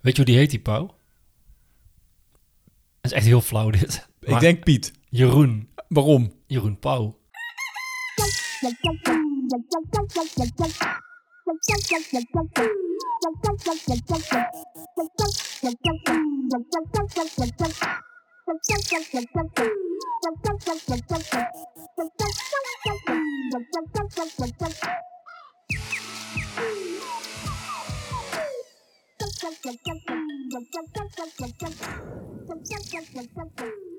Weet je hoe die heet, die pauw? Dat is echt heel flauw dit. Ik Maar denk Piet. Jeroen. Waarom? Jeroen Pauw. Thank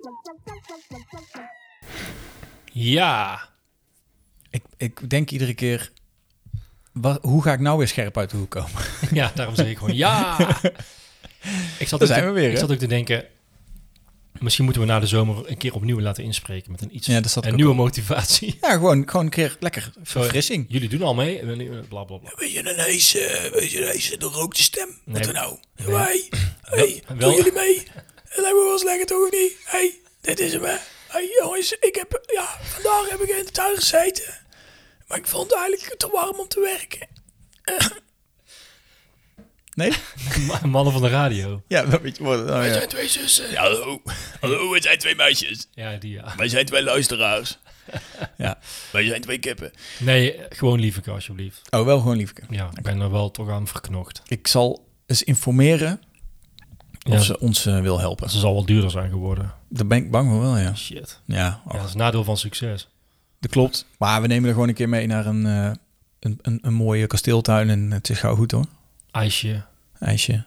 you. Ja. Ik, ik denk iedere keer, wa- hoe ga ik nou weer scherp uit de hoek komen? Ja, daarom zeg ik gewoon ja. Ik zat, Daar ook zijn te, we weer, ik hè? zat ook te denken, misschien moeten we na de zomer een keer opnieuw laten inspreken met een iets Ja, dat zat ik een ook nieuwe motivatie. Ja, gewoon, gewoon een keer lekker verfrissing. Jullie doen al mee, en nu, eh, bla bla bla. Weet je een heese, weet je een heese, de rookte stem? Nee. dan nou? Nee. Wij? Hey, Wel- doen wel- jullie jullie mee? Dat hebben we wel eens lekker, toch of niet? hey, dit is hem, hè? hey, jongens, ik heb, ja, vandaag heb ik in de tuin gezeten. Maar ik vond het eigenlijk te warm om te werken. Nee? Ma- Mannen van de radio. Ja, dat weet je wel. nou ja. twee zussen. hallo. Hallo, het zijn twee meisjes. Ja, die ja. Wij zijn twee luisteraars. Ja. Wij zijn twee kippen. Nee, gewoon lieveke alsjeblieft. Oh, wel gewoon liefke. Ja, ik ben er wel toch aan verknocht. Ik zal eens informeren of Ja, ze, ze ons eh, wil helpen. zal wel duurder zijn geworden. Daar ben ik bang voor wel, ja. Shit. Ja, Ja, oh, Nou, dat is nadeel van succes. dat klopt. Maar we nemen er gewoon een keer mee naar een, eh, een, een, een mooie kasteeltuin en het is gauw goed hoor. IJsje. ijsje.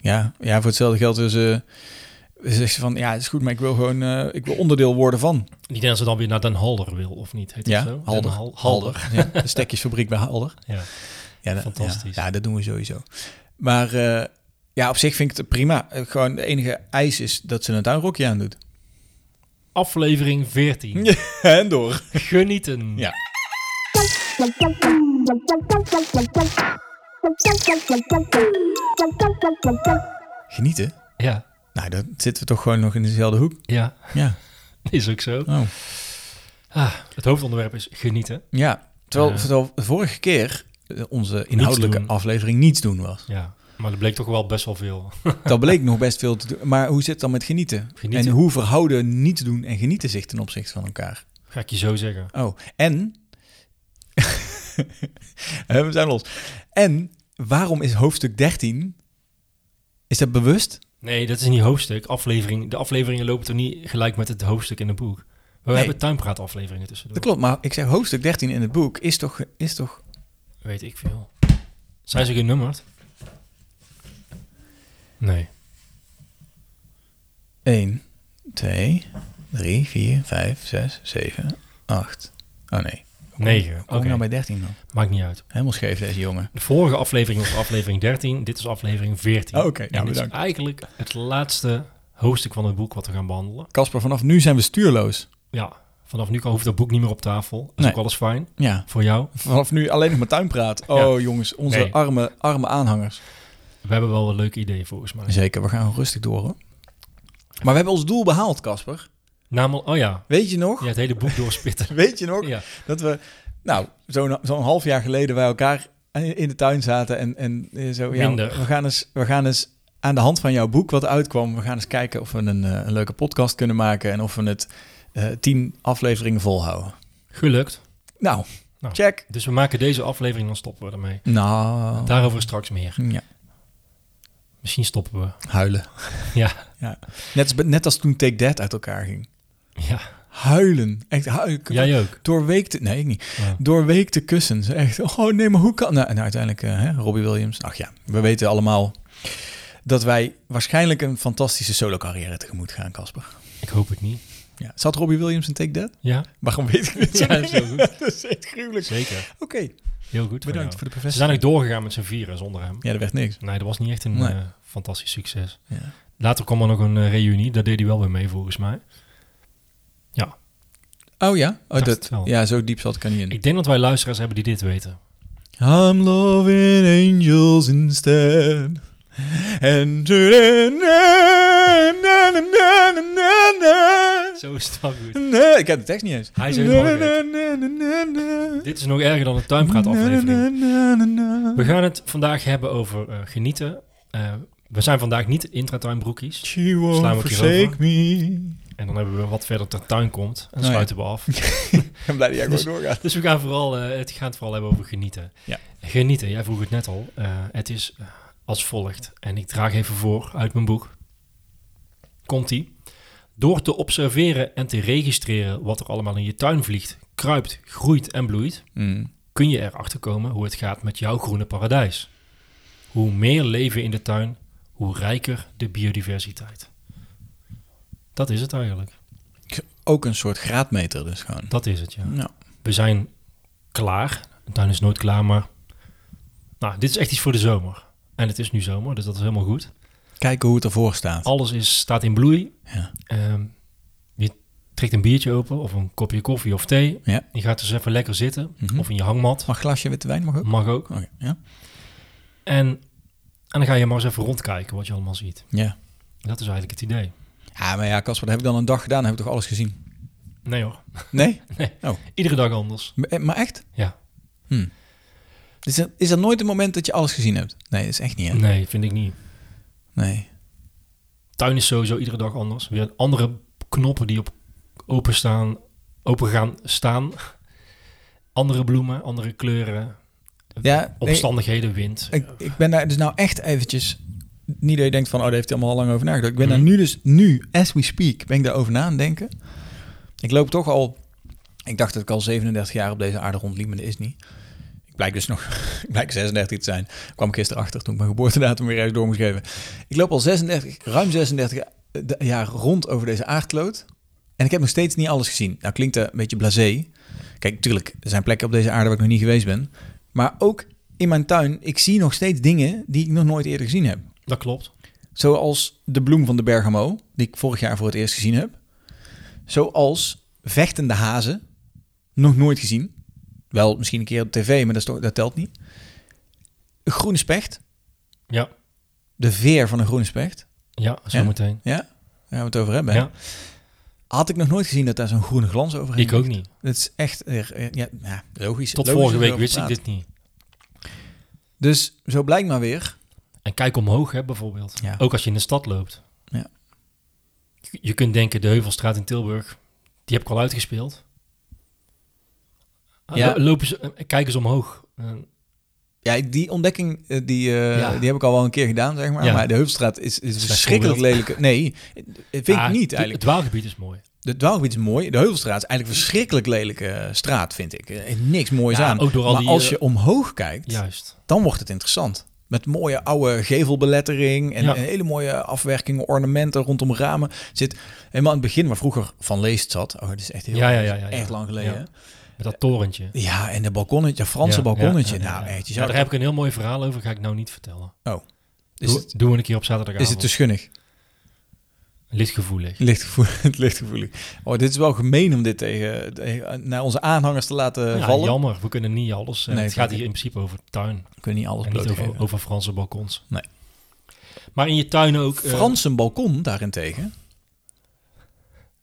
Ja, ja voor hetzelfde geld dus, eh zegt ze van, ja, het is goed, maar ik wil gewoon, eh, ik wil onderdeel worden van. Ik denk dat ze dan weer naar Den Halder wil, of niet? Heet dat Ja, zo? Halder. Den Hal- Halder. Ja, de stekjesfabriek bij Halder. Ja. Ja, dat- Fantastisch. Ja, ja, dat doen we sowieso. Maar eh, ja, op zich vind ik het prima. Eh, Gewoon de enige eis is dat ze een tuinrokje aan doet. Aflevering 14. en door. Genieten. Ja. Genieten. Ja. Nou, dan zitten we toch gewoon nog in dezelfde hoek. Ja, Ja. is ook zo. Oh. Ah, het hoofdonderwerp is genieten. Ja. Terwijl, Eh. terwijl de vorige keer eh, onze inhoudelijke doen. aflevering niets doen was. Ja, maar dat bleek toch wel best wel veel. Dat bleek nog best veel te doen. Maar hoe zit het dan met genieten? Genieten. En hoe verhouden niets doen en genieten zich ten opzichte van elkaar? Ga ik je zo zeggen. Oh, en... Eh, We zijn los. En waarom is hoofdstuk 13... Is dat bewust? Nee, dat is niet hoofdstuk. Aflevering, de afleveringen lopen toch niet gelijk met het hoofdstuk in het boek. We Nee. hebben tuinpraatafleveringen tussendoor. Dat klopt, maar ik zeg hoofdstuk 13 in het boek is toch... Is toch Weet ik veel. Zijn ze genummerd? Nee. 1, 2, 3, 4, 5, 6, 7, 8... Oh nee, Negen. Oké, kom nou bij 13 dan. maakt niet uit. Helemaal scheef deze jongen. De vorige aflevering was aflevering 13. Dit is aflevering 14. Oh, oké. En Ja, dit is bedankt. eigenlijk het laatste hoofdstuk van het boek wat we gaan behandelen. Kasper, vanaf nu zijn we stuurloos. Ja, vanaf nu kan- hoeft dat boek niet meer op tafel. Dat is Nee. ook alles fijn. Ja, Voor jou. Vanaf nu alleen nog maar tuinpraat. Oh jongens, onze Nee. arme, arme aanhangers. We hebben wel een leuk idee volgens mij. Zeker, we gaan gewoon rustig door hoor. Maar we hebben ons doel behaald, Casper. Namelijk, oh ja, Weet je nog? ja, het hele boek doorspitten. Weet je nog? ja. Dat we, nou, zo'n zo'n half jaar geleden bij elkaar in in de tuin zaten en, en eh, zo. Ja, Minder. We gaan, eens, we gaan eens aan de hand van jouw boek wat uitkwam. We gaan eens kijken of we een, eh, een leuke podcast kunnen maken en of we het eh, tien afleveringen volhouden. Gelukt. Nou, Nou. check. Dus we maken deze aflevering, dan stoppen we ermee. Nou, Daarover straks meer. ja, Misschien stoppen we. huilen. Ja, Ja. Net, als, net als toen Take That uit elkaar ging. ja. Huilen. Echt huilen. Jij ook. Doorweek te... Nee, ik niet. Ja. Doorweek te kussen. Ze Echt, oh nee, maar hoe kan... Nou, en uiteindelijk eh, hè, Robbie Williams. Ach ja, we weten allemaal dat wij waarschijnlijk een fantastische solo-carrière tegemoet gaan, Casper. Ik hoop het niet. Ja. Zat Robbie Williams in Take That? Ja, Waarom weet ik dit? Ja, zo goed. dat is echt gruwelijk. zeker. Oké, Heel goed. bedankt jou. Ze zijn voor de bevestiging. ook doorgegaan met z'n vieren zonder hem. Ja, dat werd niks. Nee, dat was niet echt een Nee. eh, fantastisch succes. Ja. Later kwam er nog een eh, reunie. Daar deed hij wel weer mee volgens mij. Ja, Oh ja? Oh, Dacht dat, het wel. ja, zo diep zat ik er niet in. ik denk dat wij luisteraars hebben die dit weten. I'm loving angels instead. And Zo is het wel goed. Nee, ik heb de tekst niet eens. Hij is helemaal Dit Dit is nog erger dan een tuinpraataflevering. We gaan het vandaag hebben over eh, genieten. eh, we zijn vandaag niet intratuin broekies. She won't Slaan we het hierover? forsake me. En dan hebben we wat verder ter tuin komt. En ja. sluiten we af. Ik ben blij dat jij gewoon Dus- doorgaat. Dus we gaan, vooral, eh, het, gaan het vooral hebben over genieten. Ja. Genieten, jij vroeg het net al. Eh, het is eh, als volgt. En ik draag even voor uit mijn boek. Komt-ie. Door te observeren en te registreren wat er allemaal in je tuin vliegt, kruipt, groeit en bloeit, Mm. kun je erachter komen hoe het gaat met jouw groene paradijs. Hoe meer leven in de tuin, hoe rijker de biodiversiteit. Dat is het eigenlijk. Ook een soort graadmeter dus gewoon. Dat is het, ja. Nou, we zijn klaar. De tuin is nooit klaar, maar... Nou, dit is echt iets voor de zomer. En het is nu zomer, dus dat is helemaal goed. kijken hoe het ervoor staat. Alles is, staat in bloei. Ja. Ehm, je trekt een biertje open of een kopje koffie of thee. Ja. Je gaat dus even lekker zitten. Mhm. Of in je hangmat. Mag glasje witte wijn mag ook? Mag ook. Oké, ja. En, en dan ga je maar eens even rondkijken wat je allemaal ziet. Ja. Dat is eigenlijk het idee. Ja, maar ja, Casper, dat heb ik dan een dag gedaan. Dan heb ik toch alles gezien? Nee hoor. Nee? Iedere dag anders. Maar- eh, Maar echt? Ja. Hm. Is er, is er nooit een moment dat je alles gezien hebt? Nee, dat is echt niet, hè? Nee, vind ik niet. Nee. tuin is sowieso iedere dag anders. Weer andere knoppen die op open staan, open gaan staan. Andere bloemen, andere kleuren, Ja, nee, omstandigheden, wind. ik, ik ben daar dus nou echt eventjes... Niet dat je denkt van, oh, daar heeft hij allemaal al lang over nagedacht. Ik ben Hm. daar nu dus, nu, as we speak, ben ik daarover na aan het denken. Ik loop toch al... Ik dacht dat ik al 37 jaar op deze aarde rondliep, maar dat is niet. Ik blijk dus nog, ik blijk 36 te zijn. kwam ik gisteren achter toen ik mijn geboortedatum weer ergens door moest geven. Ik loop al 36, ruim 36 jaar rond over deze aardkloot. En ik heb nog steeds niet alles gezien. Nou klinkt dat een beetje blasé. Kijk, natuurlijk, er zijn plekken op deze aarde waar ik nog niet geweest ben. Maar ook in mijn tuin, ik zie nog steeds dingen die ik nog nooit eerder gezien heb. Dat klopt. Zoals de bloem van de Bergamo, die ik vorig jaar voor het eerst gezien heb. Zoals vechtende hazen, nog nooit gezien. Wel misschien een keer op tv, maar dat, is toch, dat telt niet. Een groene specht, Ja, de veer van een groene specht. ja zo Ja. meteen. Ja, daar gaan we het over hebben. hè? Ja, Had ik nog nooit gezien dat daar zo'n groene glans overheen ik ook niet. Het is echt eh, eh, ja, ja, logisch. Tot Logisch vorige dat week we wist ik praten. dit niet. Dus zo blijkt maar weer. En kijk omhoog hè, bijvoorbeeld. Ja. Ook als je in de stad loopt. Ja. Je- Je kunt denken, de Heuvelstraat in Tilburg, die heb ik al uitgespeeld. Ja. Ja. Lopen ze, kijk eens omhoog. Eh, Ja, die ontdekking eh, die, eh, Ja. die heb ik al wel een keer gedaan, zeg maar. Ja. Maar de Heupstraat is, is een Slecht verschrikkelijk lelijk. Nee, eh, vind ah, ik niet het- Het eigenlijk. dwaalgebied is mooi. De dwaalgebied is mooi. De Heuvelstraat is eigenlijk een verschrikkelijk lelijke eh, straat, vind ik. Er is niks moois Ja, aan. ook door al maar die, als eh, je omhoog kijkt, Juist. dan wordt het interessant. Met mooie oude gevelbelettering en Ja. een hele mooie afwerkingen, ornamenten rondom ramen. Zit helemaal aan het begin waar vroeger Van Leest zat. Oh, dat is echt heel Ja, ja, ja, ja, ja. echt lang geleden. Ja. hè? Met dat torentje. Ja. en de balkonnetje, Franse Ja, balkonnetje. ja, ja, ja, Nou, ja. echt. Je Ja, zou daar heb ik een heel mooi verhaal over, ga ik nou niet vertellen. Oh, is Doe, het, doen we een keer op zaterdagavond. is het dus- te schunnig? Lichtgevoelig. Lichtgevoelig, het lichtgevoelig. Oh, dit is wel gemeen om dit tegen, tegen- naar onze aanhangers te laten Ja, Eh, vallen. jammer, we kunnen niet alles. eh, Nee, het snap gaat ik. hier in principe over tuin. We kunnen niet alles En niet blootgeven. over, over Franse balkons. Nee. Maar in je tuin ook... eh, Frans een balkon daarentegen.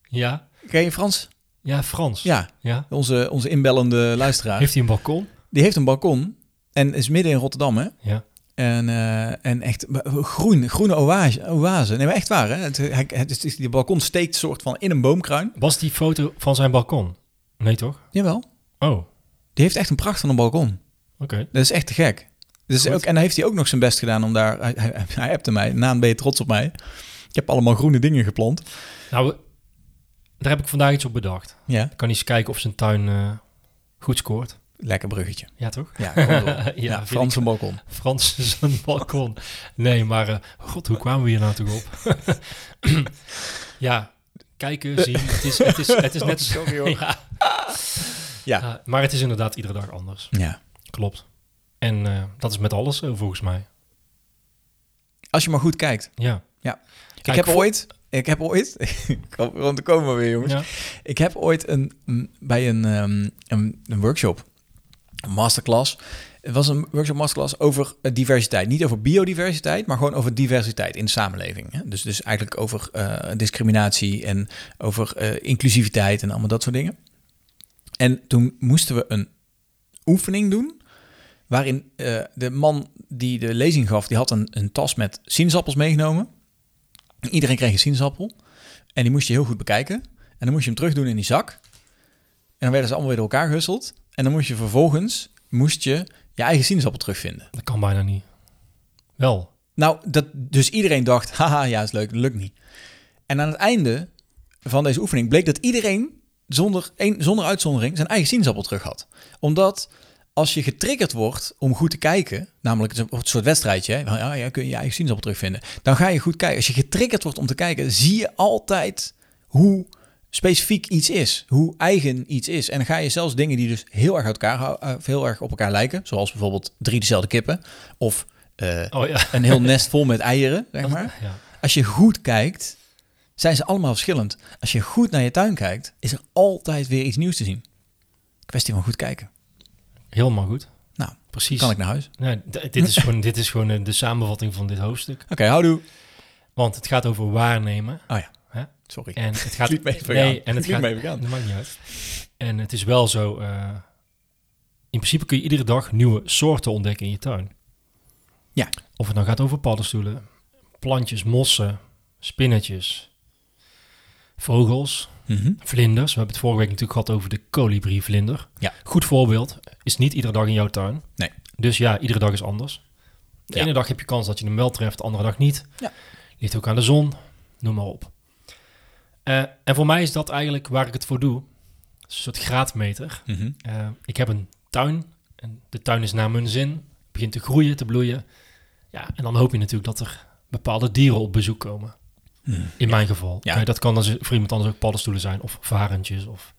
ja, Ken je Frans? ja, Frans. Ja, Ja? onze, onze inbellende luisteraar. Heeft hij een balkon? Die heeft een balkon en is midden in Rotterdam, hè? Ja. En, eh, en echt groen, groene oase. oase. Nee, maar echt waar, hè? Het, hij- het, is- die balkon steekt soort van in een boomkruin. Was die foto van zijn balkon? Nee, toch? Jawel. Oh, oké. Die heeft echt een pracht van een balkon. Dat is echt te gek. Dus Goed. ook, en dan heeft hij ook nog zijn best gedaan om daar... Hij, hij, hij appte mij, naam ben je trots op mij. Ik heb allemaal groene dingen geplant. Nou, we- daar heb ik vandaag iets op bedacht. Ja, Ik kan eens kijken of zijn tuin eh, goed scoort. lekker bruggetje. Ja, toch? Ja, kom door. Ja, ja, vind Frans een balkon. Frans is een balkon. Nee, maar eh, god, hoe kwamen we hier nou toch op? ja, kijken, zien. Het is, het is, het is net zo. Eh. Oh, sorry, hoor. Ja. Ja. Eh, maar het is inderdaad iedere dag anders. Ja. Klopt. En eh, dat is met alles zo, volgens mij. Als je maar goed kijkt. Ja. Ja. ik Kijk, heb voor- ooit... Ik heb ooit... ik hoop rond te komen weer, jongens. ja. Ik heb ooit een, mm, bij een, ehm, een, een workshop, een masterclass. Het was een workshop masterclass over eh, diversiteit. Niet over biodiversiteit, maar gewoon over diversiteit in de samenleving. Hè? Dus, dus eigenlijk over eh, discriminatie en over eh, inclusiviteit en allemaal dat soort dingen. En toen moesten we een oefening doen Waarin eh, de man die de lezing gaf, die had een, een tas met sinaasappels meegenomen. Iedereen kreeg een sinaasappel. En die moest je heel goed bekijken. En dan moest je hem terugdoen in die zak. En dan werden ze allemaal weer door elkaar gehusseld. En dan moest je vervolgens moest je, je eigen sinaasappel terugvinden. Dat kan bijna niet. Wel. Nou, dat, dus iedereen dacht, haha, ja, is leuk, dat lukt niet. En aan het einde van deze oefening bleek dat iedereen zonder, één- zonder uitzondering zijn eigen sinaasappel terug had. Omdat als je getriggerd wordt om goed te kijken, namelijk het is een soort wedstrijdje, hè, van, ja, ja, kun je je eigen sinaasappel terugvinden, dan ga je goed kijken. Als je getriggerd wordt om te kijken, zie je altijd hoe specifiek iets is, hoe eigen iets is. En dan ga je zelfs dingen die dus heel erg, uit elkaar, hou- eh, heel erg op elkaar lijken, zoals bijvoorbeeld drie dezelfde kippen of... eh, Oh ja. een heel nest vol met eieren, zeg maar. Ja. Als je goed kijkt, zijn ze allemaal verschillend. Als je goed naar je tuin kijkt, is er altijd weer iets nieuws te zien. Kwestie van goed kijken. Helemaal goed. Nou, Precies. kan ik naar huis? Nee, d- dit, is gewoon, dit is gewoon eh, de samenvatting van dit hoofdstuk. Oké, houdoe. Want het gaat over waarnemen. Oh ja, Hè? sorry. En het gaat. liet me even gaan. nee, en het Ik gaat. liet me even gaan. Dat maakt niet uit. En het is wel zo. eh, in principe kun je iedere dag nieuwe soorten ontdekken in je tuin. Ja. Of het nou gaat over paddenstoelen, plantjes, mossen, spinnetjes, vogels, Mhm. vlinders. We hebben het vorige week natuurlijk gehad over de kolibri-vlinder. Ja. Goed voorbeeld. Is niet iedere dag in jouw tuin. Nee. Dus ja, iedere dag is anders. De Ja. ene dag heb je kans dat je hem wel treft, de andere dag niet. Ja. Ligt ook aan de zon, noem maar op. Eh, en voor mij is dat eigenlijk waar ik het voor doe. Het is Een soort graadmeter. Mhm. Eh, ik heb een tuin. En de tuin is naar mijn zin. Het Begint te groeien, te bloeien. Ja, en dan hoop je natuurlijk dat er bepaalde dieren op bezoek komen. In mijn geval. Hmm. Ja. Eh, dat kan dan z- voor iemand anders ook paddenstoelen zijn. Of varentjes. Of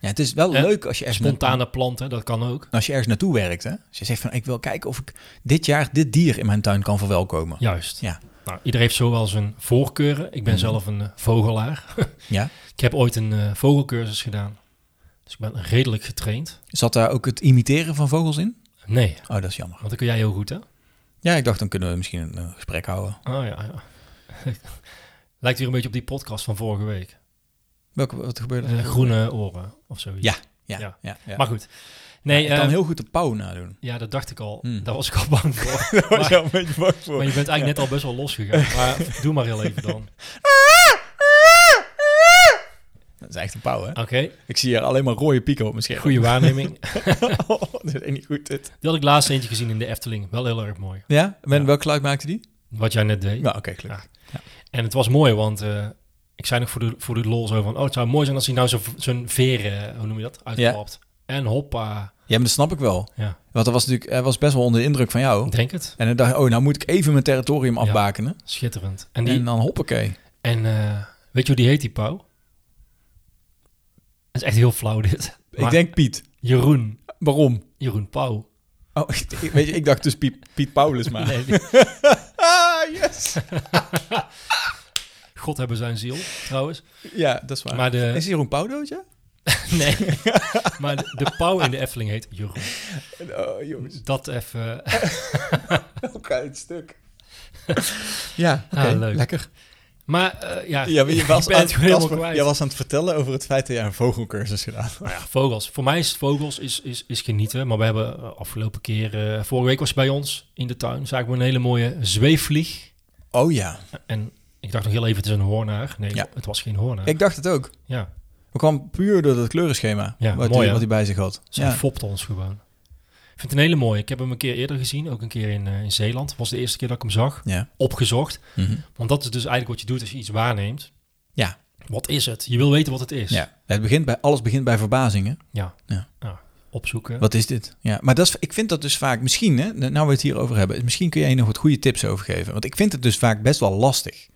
Ja, het is wel Eh, leuk als je, ergens na- spontane planten. Dat kan ook. als je ergens naartoe werkt. Hè? Als je zegt van, ik wil kijken of ik dit jaar dit dier in mijn tuin kan verwelkomen. Juist. Ja. Hmm. Nou, ieder heeft zo wel zijn voorkeuren. Ik ben zelf een eh, vogelaar. Ja. ik heb ooit een eh, vogelcursus gedaan. Dus ik ben redelijk getraind. Zat daar ook het imiteren van vogels in? Nee, Oh, dat is jammer. want dat kun jij heel goed, hè? Ja, ik dacht, dan kunnen we misschien een eh, gesprek houden. Oh ja, ja. Lijkt weer een beetje op die podcast van vorige week. Welke, wat gebeurde Eh, er? groene oren of zoiets. Ja, ja, Ja. ja. ja, Maar goed. Nee, ik kan eh, heel goed de pauw nadoen. ja, dat dacht ik al. Hmm. Daar was ik al bang voor. Daar Maar- je al een beetje bang voor. Maar je bent eigenlijk net al best wel losgegaan. Maar doe maar heel even dan. Dat is echt een pauw, hè? Oké, Ah. Ik zie hier alleen maar rode pieken op mijn scherm. goede waarneming. Oh, dit is echt niet goed, dit. Die had ik laatst eentje gezien in de Efteling. Wel heel erg mooi. Ja? Met Ja. welk geluid maakte die? Wat jij net deed. Ja, oké, gelukkig. En het was mooi, want eh, ik zei nog voor de, voor de lol zo van... Oh, het zou mooi zijn als hij nou zo- zo'n veren, hoe noem je dat, uitklapt. En hoppa. Ja, maar dat snap ik wel. Ja, Want dat was natuurlijk, hij was best wel onder de indruk van jou. ik denk het. En dan dacht ik, oh, nou moet ik even mijn territorium afbakenen. Schitterend. En, die, En dan hoppakee. en eh, weet je hoe die heet, die pauw? Dat is echt heel flauw dit. Maar Ik denk Piet. Jeroen. Waarom? Jeroen Pauw. Oh, ik- weet je, ik dacht dus Piet, Piet Paulus maar. Nee, die- Ah, yes! God hebben zijn ziel, trouwens. Ja, dat is waar. Maar de- Is hier een pauwdootje? Nee. maar de, de pauw in de Efteling heet Jeroen. Oh, jongens. Dat even... Ook uit het stuk. ja, oké. Ah, leuk. Lekker. Maar eh, ja, Ja, maar je was, ik ben aan, het gewoon helemaal Casper, kwijt. jij was aan het vertellen over het feit dat jij een vogelcursus gedaan had. Nou ja, vogels. Voor mij is het vogels is, is, is genieten. Maar we hebben eh, afgelopen keer... eh, vorige week was je bij ons in de tuin. Zagen we een hele mooie zweefvlieg. Oh ja, En ik dacht nog heel even, het is een hoornaar. Nee, Ja. het was geen hoornaar. ik dacht het ook. Ja, We kwam puur door dat kleurenschema Ja, wat, mooi, hij, hè? wat hij bij zich had. ze Ja. fopte ons gewoon. Ik vind het een hele mooie. Ik heb hem een keer eerder gezien. Ook een keer in, eh, in Zeeland. was de eerste keer dat ik hem zag. Ja. Opgezocht. Mhm. Want dat is dus eigenlijk wat je doet als je iets waarneemt. Ja. Wat is het? Je wil weten wat het is. ja. Het begint bij, alles begint bij verbazingen. Dus- Ja. Ja. Nou, opzoeken. Wat is dit? Ja, maar dat is, ik vind dat dus vaak, misschien, hè, nou we het hierover hebben, misschien kun jij hier nog wat goede tips over geven. Want ik vind het dus vaak best wel lastig.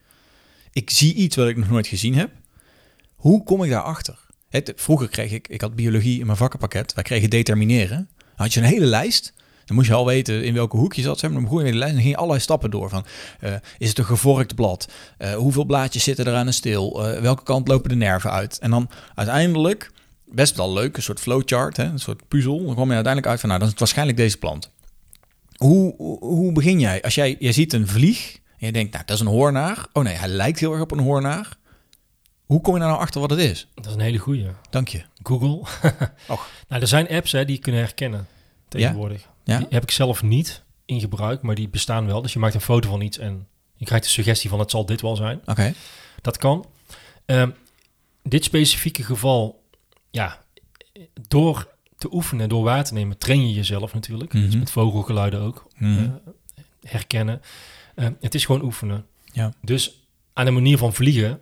Ik zie iets wat ik nog nooit gezien heb. Hoe kom ik daarachter? Het, vroeger kreeg ik, ik had biologie in mijn vakkenpakket, wij kregen determineren. Dan had je een hele lijst. Dan moest je al weten in welke hoek je zat. Zeg maar. Dan begon je met de lijst en dan ging je allerlei stappen door. Van, eh, is het een gevorkt blad? Eh, hoeveel blaadjes zitten er aan een steel? Eh, welke kant lopen de nerven uit? En dan uiteindelijk, best wel leuk, een soort flowchart, hè, een soort puzzel. Dan kwam je uiteindelijk uit van, nou, dan is het waarschijnlijk deze plant. Hoe, hoe- hoe begin jij? Als jij, jij ziet een vlieg en je denkt, nou, dat is een hoornaar. Oh nee, hij lijkt heel erg op een hoornaar. Hoe kom je daar nou achter wat het is? Dat is een hele goeie. Dank je. Google. Och. nou, er zijn apps hè, die je kunnen herkennen tegenwoordig. Ja? Die heb ik zelf niet in gebruik, maar die bestaan wel. Dus je maakt een foto van iets en je krijgt de suggestie van het zal dit wel zijn. Oké. Dat kan. Ehm, dit specifieke geval, ja, door te oefenen, door waar te nemen, train je jezelf natuurlijk. Mhm. Dus met vogelgeluiden ook. Mhm. eh, herkennen. Eh, het is gewoon oefenen. Ja. Dus aan de manier van vliegen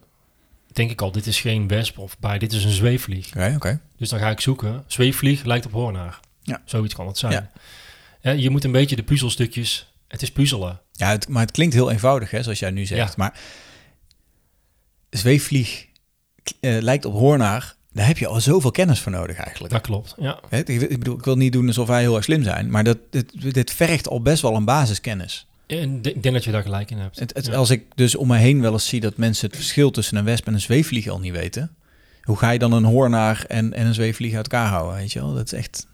denk ik al, dit is geen wesp of bij, dit is een zweefvlieg. Oké, oké. Dus dan ga ik zoeken. Zweefvlieg lijkt op hoornaar. Ja. Zoiets kan het zijn. Ja. Eh, je moet een beetje de puzzelstukjes, het is puzzelen. Ja, het, maar het klinkt heel eenvoudig, hè, zoals jij nu zegt. Ja. Maar zweefvlieg eh, lijkt op hoornaar. Daar heb je al zoveel kennis voor nodig eigenlijk. Dat klopt, ja. Hè, ik, ik bedoel, ik wil niet doen alsof wij heel erg slim zijn, maar dat, dit, dit vergt al best wel een basiskennis. En de- ik denk dat je daar gelijk in hebt. Het, het- Ja. Als ik dus om me heen wel eens zie dat mensen het verschil tussen een wesp en een zweefvlieg al niet weten, hoe ga je dan een hoornaar en, en een zweefvlieg uit elkaar houden? Weet je wel, dat is echt.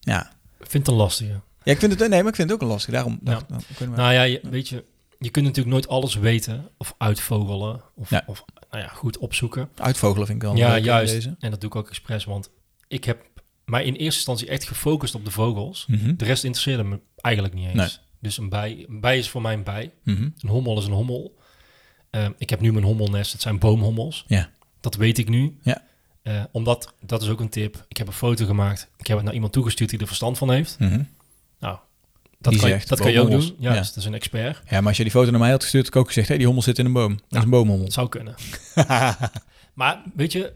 Ja. Ik vind het een lastige. ja, ik vind het. Nee, maar ik vind het ook een lastig. Daarom. Ja. daar- daar kunnen we- Nou ja, je, weet je, je kunt natuurlijk nooit alles weten of uitvogelen of, Ja. of nou ja, goed opzoeken. Uitvogelen vind ik wel. een ja, leuke in juist. Deze. En dat doe ik ook expres, want ik heb mij in eerste instantie echt gefocust op de vogels. Mhm, De rest interesseerde me eigenlijk niet eens. Nee. Dus een bij, een bij is voor mij een bij. mhm. Een hommel is een hommel. Ehm, ik heb nu mijn hommelnest. Het zijn boomhommels. Ja. Dat weet ik nu. Ja. Eh, omdat, dat is ook een tip. Ik heb een foto gemaakt. Ik heb het naar iemand toegestuurd die er verstand van heeft. Mhm. Dat, Die kan, je- zegt, dat kan je ook doen. boomhommels. Ja, dus Ja. dat is een expert. Ja, maar als je die foto naar mij had gestuurd, had ik ook gezegd, hé, die hommel zit in een boom. Dat is een boomhommel. Het zou kunnen. maar weet je,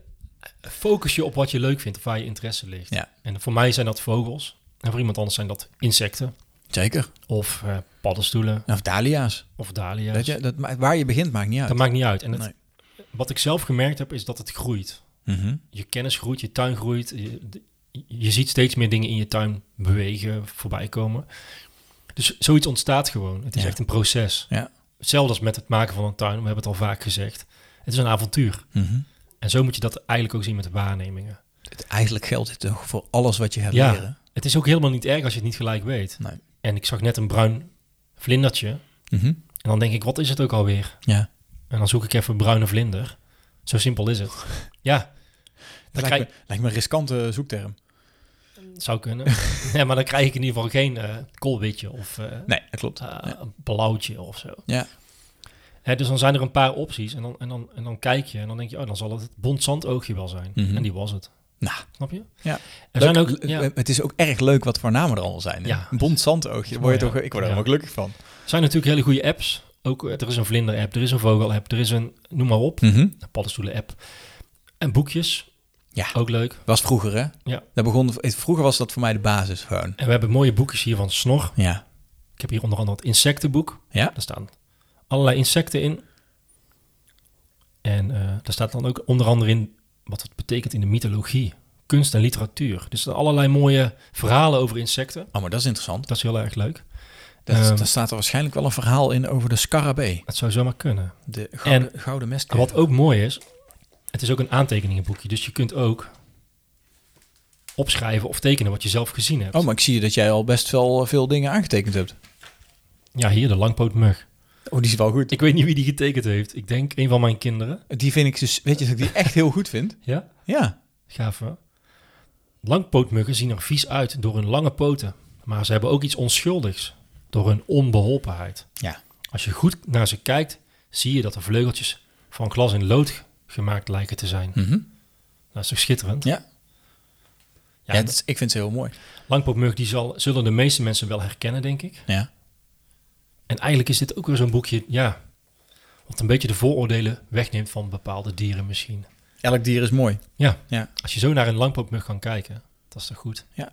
focus je op wat je leuk vindt of waar je interesse ligt. Ja. En voor mij zijn dat vogels. En voor iemand anders zijn dat insecten. Zeker. Of eh, paddenstoelen. Of dahlia's. Of dahlia's. Weet je, dat, ma- waar je begint maakt niet uit. Dat maakt niet uit. En het- Nee. wat ik zelf gemerkt heb, is dat het groeit. Mhm. Je kennis groeit, je tuin groeit. Je, de- je ziet steeds meer dingen in je tuin bewegen, voorbij komen. Dus zoiets ontstaat gewoon. Het is Ja. echt een proces. Ja. Hetzelfde als met het maken van een tuin. We hebben het al vaak gezegd. Het is een avontuur. Mhm. En zo moet je dat eigenlijk ook zien met de waarnemingen. Het, eigenlijk geldt dit toch voor alles wat je gaat Ja. leren. Het is ook helemaal niet erg als je het niet gelijk weet. Nee. En ik zag net een bruin vlindertje. Mhm. En dan denk ik, wat is het ook alweer? Ja. En dan zoek ik even bruine vlinder. Zo simpel is het. Ja, Dat Dan lijkt, me, lijkt me een riskante zoekterm. zou kunnen. ja, maar dan krijg ik in ieder geval geen eh koolwitje of eh Nee, dat klopt. eh, een blauwtje of zo. Ja. Hè, dus dan zijn er een paar opties. En dan, en, dan, en dan kijk je en dan denk je, oh, dan zal het het bondzandoogje wel zijn. Mhm. En die was het. Nou. Snap je? Ja. Er Leuk- zijn ook... le- ja. Het is ook erg leuk wat voor namen er allemaal zijn. hè? Ja. Een bont zandoogje, daar word je Mooi, toch, ik word er Ja. helemaal gelukkig van. Er zijn natuurlijk hele goede apps. Ook, eh, er is een vlinder-app, er is een vogel-app, er is een, noem maar op, een paddenstoelen-app. En boekjes. Ja. Ook leuk. Was vroeger, hè? Ja. Dat begon, vroeger was dat voor mij de basis gewoon. En we hebben mooie boekjes hier van Snor. Ja. Ik heb hier onder andere het insectenboek. Ja. Daar staan allerlei insecten in. En eh, daar staat dan ook onder andere in wat het betekent in de mythologie, kunst en literatuur. Dus er zijn allerlei mooie verhalen over insecten. Oh, maar dat is interessant. Dat is heel erg leuk. Dat, Ehm. daar staat er waarschijnlijk wel een verhaal in over de scarabee. Dat zou zomaar kunnen. De gouden, gouden En mestketel. wat ook mooi is, het is ook een aantekeningenboekje. Dus je kunt ook opschrijven of tekenen wat je zelf gezien hebt. Oh, maar ik zie dat jij al best wel eh, veel dingen aangetekend hebt. Ja, hier de langpootmug. Oh, die is wel goed. Ik weet niet wie die getekend heeft. Ik denk een van mijn kinderen. Die vind ik dus, weet je, dat ik die echt heel goed vind. Ja? Ja. Gaaf, hè? Langpootmuggen zien er vies uit door hun lange poten. Maar ze hebben ook iets onschuldigs. Door hun onbeholpenheid. Ja. Als je goed naar ze kijkt, zie je dat de vleugeltjes van glas in lood gemaakt lijken te zijn. Nou, Dat is toch schitterend? Ja. Ja, Ja, dat is- ik vind ze heel mooi. Langpootmug die zal, zullen de meeste mensen wel herkennen, denk ik. Ja. En eigenlijk is dit ook weer zo'n boekje, ja, wat een beetje de vooroordelen wegneemt van bepaalde dieren misschien. Elk dier is mooi. Ja, Ja. als je zo naar een langpootmug kan kijken, dat is toch goed. Ja,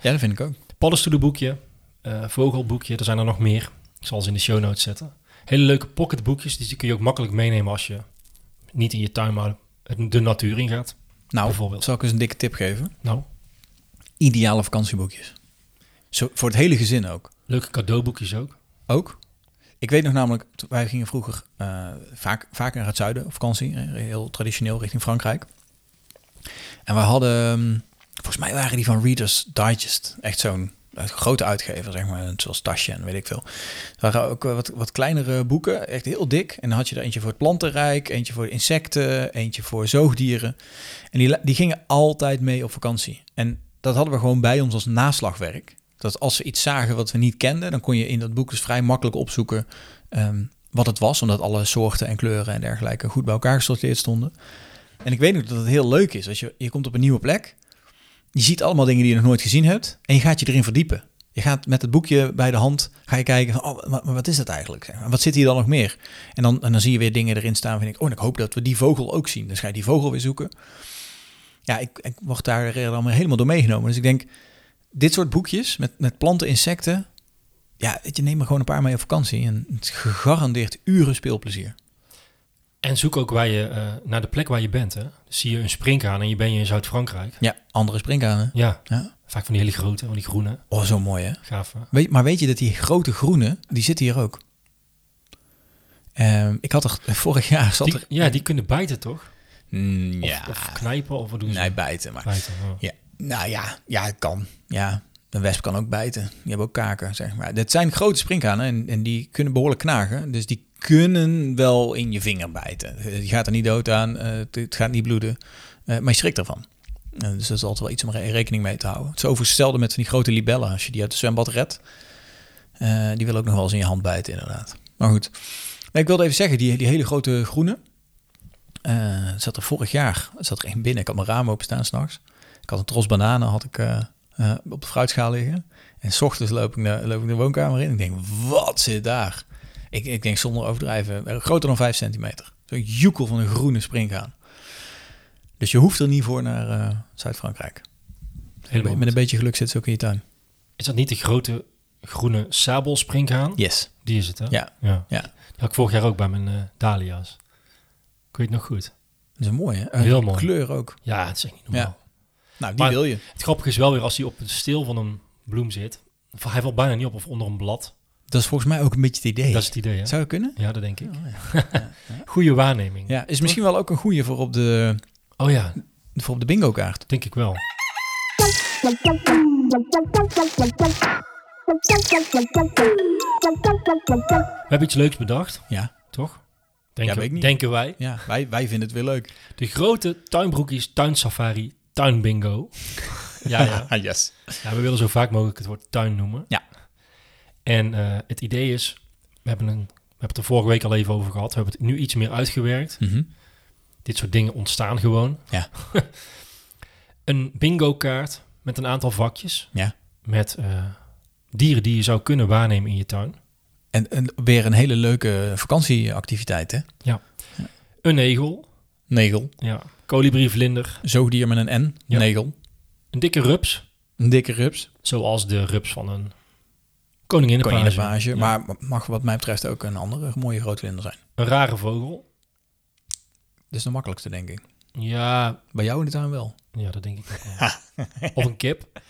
dat vind ik ook. Paddenstoelenboekje, eh, vogelboekje, er zijn er nog meer. Ik zal ze in de show notes zetten. Hele leuke pocketboekjes, die kun je ook makkelijk meenemen als je niet in je tuin, maar het- de natuur ingaat. Nou, Bijvoorbeeld. zal ik eens een dikke tip geven? Nou, Ideale vakantieboekjes. Zo, voor het hele gezin ook. leuke cadeauboekjes ook. Ook? Ik weet nog namelijk, t- wij gingen vroeger eh, vaak, vaak naar het zuiden op vakantie, eh, heel traditioneel richting Frankrijk. En we hadden, ehm, volgens mij waren die van Reader's Digest, echt zo'n eh, grote uitgever, zeg maar, zoals Tasje en weet ik veel. Het waren ook eh, wat, wat kleinere boeken, echt heel dik. En dan had je er eentje voor het plantenrijk, eentje voor de insecten, eentje voor zoogdieren. En die, la- die gingen altijd mee op vakantie. En dat hadden we gewoon bij ons als naslagwerk. Dat als ze iets zagen wat we niet kenden, dan kon je in dat boek dus vrij makkelijk opzoeken ehm, wat het was. Omdat alle soorten en kleuren en dergelijke goed bij elkaar gesorteerd stonden. En ik weet ook dat het heel leuk is. Als je, je komt op een nieuwe plek, je ziet allemaal dingen die je nog nooit gezien hebt en je gaat je erin verdiepen. Je gaat met het boekje bij de hand, ga je kijken, van, oh, maar, maar wat is dat eigenlijk? En Wat zit hier dan nog meer? En dan, en dan zie je weer dingen erin staan van, ik, oh, en ik hoop dat we die vogel ook zien. Dus ga je die vogel weer zoeken. Ja, ik, ik word daar dan weer helemaal door meegenomen. Dus ik denk, dit soort boekjes met, met planten, insecten, ja, weet je, neem er gewoon een paar mee op vakantie. En het is gegarandeerd uren speelplezier. En zoek ook waar je, eh, naar de plek waar je bent. Hè? Dus zie je een springhaan en je ben je in Zuid-Frankrijk. Ja, andere springkanen. Ja, Ja. vaak van die hele grote, van die groene. Oh, zo mooi hè? Gaaf. hè? Weet, maar weet je dat die grote groene, die zitten hier ook? Ehm, ik had er vorig jaar zat Die, er. ja, die kunnen bijten toch? Mm, Of, ja, of knijpen of wat doen ze? nee, bijten maar. Bijten, ja. Ja, nou ja, ja, het kan. Ja, een wesp kan ook bijten. Die hebben ook kaken, zeg maar. Dat zijn grote sprinkhanen en, en die kunnen behoorlijk knagen. Dus die kunnen wel in je vinger bijten. Eh, Je gaat er niet dood aan, eh, het, het gaat niet bloeden. eh, maar je schrikt ervan. Eh, dus dat is altijd wel iets om re- rekening mee te houden. Het is overigens hetzelfde met van die grote libellen. Als je die uit het zwembad redt, eh, die wil ook nog wel eens in je hand bijten, inderdaad. Maar goed, Nee, ik wilde even zeggen, die, die hele grote groene... eh, zat er vorig jaar, zat er één binnen. Ik had mijn raam openstaan s'nachts. Ik had een tros bananen had ik, eh, eh, op de fruitschaal liggen. En s ochtends loop ik, naar, loop ik de woonkamer in. Ik denk, wat zit daar? Ik, ik denk zonder overdrijven, eh, groter dan 5 centimeter. Zo'n joekel van een groene springhaan. Dus je hoeft er niet voor naar eh, Zuid-Frankrijk. Helemaal Met een goed. beetje geluk zit ze ook in je tuin. Is dat niet de grote groene sabelspringhaan? Yes. Die is het, hè? Ja. ja. Ja. Die had ik vorig jaar ook bij mijn eh, dahlia's. Ik weet het nog goed. Dat is mooi, hè? Eh, Heel mooi. kleur ook. Ja, het is echt niet normaal. Ja. Nou, die Maar- wil je. Het grappige is wel weer als hij op het steel van een bloem zit. Of Hij valt bijna niet op of onder een blad. Dat is volgens mij ook een beetje het idee. Dat is het idee, hè? Zou dat kunnen? Ja, dat denk ik. Oh, Goede waarneming. Ja, is misschien wel ook een goede voor op de, Oh ja, voor op de bingo kaart. denk ik wel. We hebben iets leuks bedacht, Ja, toch? Denken, weet ik niet. denken wij. ja wij, wij vinden het weer leuk. De grote tuinbroekjes, tuinsafari, tuinbingo. ja, ja. Ah, yes. ja, we willen zo vaak mogelijk het woord tuin noemen. Ja. En eh, het idee is, we hebben, een, we hebben het er vorige week al even over gehad. We hebben het nu iets meer uitgewerkt. Mhm. Dit soort dingen ontstaan gewoon. Ja. een bingo kaart met een aantal vakjes. Ja. Met eh, dieren die je zou kunnen waarnemen in je tuin. En, en weer een hele leuke vakantieactiviteit, hè? Een egel, Negel. ja. kolibrie, vlinder, Zoogdier met een N. Ja. Negel. een dikke rups. Een dikke rups. Zoals de rups van een koninginnenpaasje. Koninginpage. Ja. Maar mag wat mij betreft ook een andere mooie grootvlinder zijn. Een rare vogel. Dat is de makkelijkste, denk ik. Ja, Bij jou in de tuin wel. ja dat denk ik ook wel. of een kip.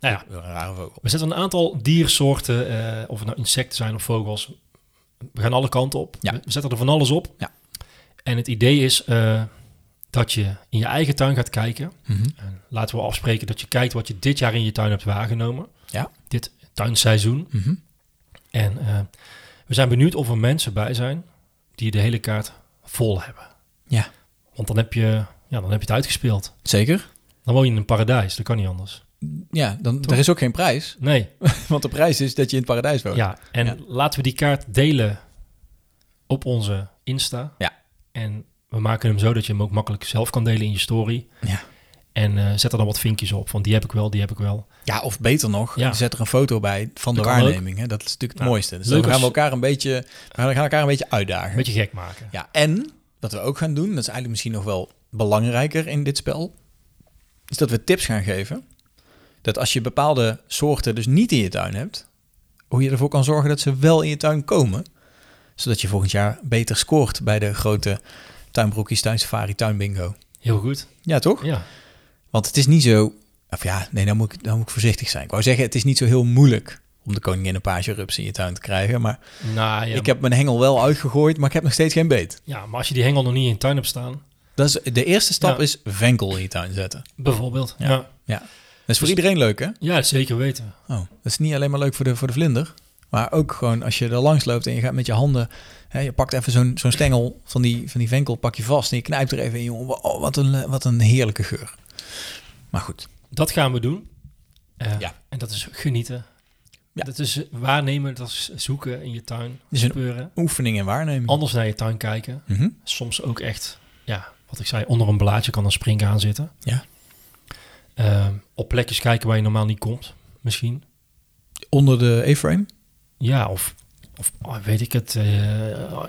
Nou ja, Een rare vogel. we zetten een aantal diersoorten, eh, of het nou insecten zijn of vogels. We gaan alle kanten op. Ja. We zetten er van alles op. Ja. En het idee is eh, dat je in je eigen tuin gaat kijken. Mhm. En laten we afspreken dat je kijkt wat je dit jaar in je tuin hebt waargenomen. Ja. Dit tuinseizoen. Mhm. En eh, we zijn benieuwd of er mensen bij zijn die de hele kaart vol hebben. Ja. Want dan heb je, ja, dan heb je het uitgespeeld. Zeker. Dan woon je in een paradijs, dat kan niet anders. Ja, dan, er is ook geen prijs. Nee, Want de prijs is dat je in het paradijs woont. ja. En Oh. Ja. laten we die kaart delen op onze Insta. Ja. En we maken hem zo dat je hem ook makkelijk zelf kan delen in je story. Ja. En eh, zet er dan wat vinkjes op, van die heb ik wel, die heb ik wel. Ja, of beter nog, Ja. zet er een foto bij van de Dat kan waarneming. Hè? Dat is natuurlijk het Ja. mooiste. Dus Leuk dan gaan we als- elkaar een beetje, we gaan elkaar een beetje uitdagen. Een beetje gek maken. Ja, en wat we ook gaan doen, dat is eigenlijk misschien nog wel belangrijker in dit spel, is dat we tips gaan geven. Dat als je bepaalde soorten dus niet in je tuin hebt, hoe je ervoor kan zorgen dat ze wel in je tuin komen. Zodat je volgend jaar beter scoort bij de grote tuinbroekjes, tuinsafari, tuinbingo. Heel goed. Ja, toch? Ja. Want het is niet zo... Of ja, nee, dan moet, ik, dan moet ik voorzichtig zijn. Ik wou zeggen, het is niet zo heel moeilijk om de koninginnenpage rups in je tuin te krijgen. Maar Nou, ja, ik heb mijn hengel wel uitgegooid, maar ik heb nog steeds geen beet. ja, maar als je die hengel nog niet in je tuin hebt staan, Dat is, de eerste stap Ja. is venkel in je tuin zetten. bijvoorbeeld. ja. Ja. Dat is voor iedereen leuk, hè? Ja, zeker weten. Dus- Oh, dat is niet alleen maar leuk voor de, voor de vlinder. Maar ook gewoon als je er langs loopt en je gaat met je handen... Hè, je pakt even zo'n zo'n stengel van die, van die venkel, pak je vast... en je knijpt er even in, jongen. Oh, wat een, eh, wat een heerlijke geur. Maar goed, Dat gaan we doen. Eh, Ja. En dat is genieten. Ja. Dat is waarnemen, dat is zoeken in je tuin, is een- speuren. Oefening en waarneming. Anders naar je tuin kijken. Mhm. Soms ook echt, ja, wat ik zei, onder een blaadje kan een springhaan zitten. Ja. Ehm, op plekjes kijken waar je normaal niet komt, misschien. Onder de A-frame? Ja, of, of oh, weet ik het, eh,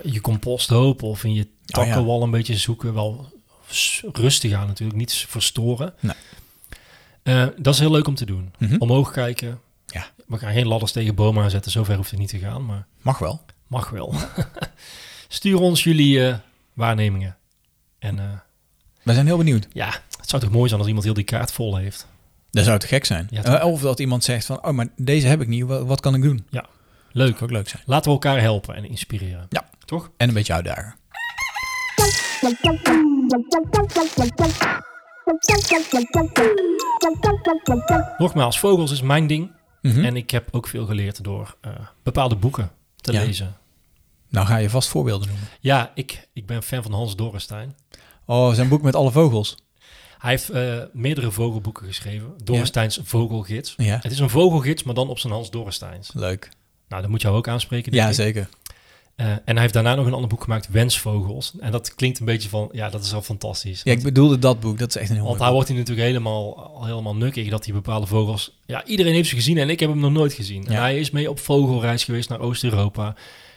je composthoop of Oh, in je takkenwal een beetje zoeken. Wel s- rustig aan natuurlijk, niets verstoren. Nee. Eh, dat is heel leuk om te doen. Mhm. Omhoog kijken. Ja. We gaan geen ladders tegen bomen aanzetten, zover hoeft het niet te gaan, maar Mag wel. mag wel. Stuur ons jullie eh, waarnemingen. En eh, Wij zijn heel benieuwd. ja, het zou toch mooi zijn als iemand heel die kaart vol heeft. Dat zou te gek zijn. Ja, toch? Eh, of dat iemand zegt van, oh, maar deze heb ik niet. Wat, wat kan ik doen? Leuk. ook leuk zijn. Laten we elkaar helpen en inspireren. Ja. Toch? En een beetje uitdagen. Nogmaals, vogels is mijn ding. Mhm. En ik heb ook veel geleerd door eh, bepaalde boeken te Ja. lezen. Nou ga je vast voorbeelden noemen. Ja, ik, ik ben fan van Hans Dorenstein. Oh, zijn boek met alle vogels. Hij heeft eh, meerdere vogelboeken geschreven. Dorensteins Vogelgids. Ja. Het is een vogelgids, maar dan op zijn Hans Dorensteins. Leuk. Nou, dat moet jou ook aanspreken. denk Ja, ik. zeker. Eh, en hij heeft daarna nog een ander boek gemaakt, Wensvogels. En dat klinkt een beetje van, ja, dat is al fantastisch. Ja, ik bedoelde dat boek. Dat is echt een heel Want mooi daar wordt boek. hij natuurlijk helemaal, al helemaal nukkig dat die bepaalde vogels... Ja, iedereen heeft ze gezien en ik heb hem nog nooit gezien. En Ja. hij is mee op vogelreis geweest naar Oost-Europa.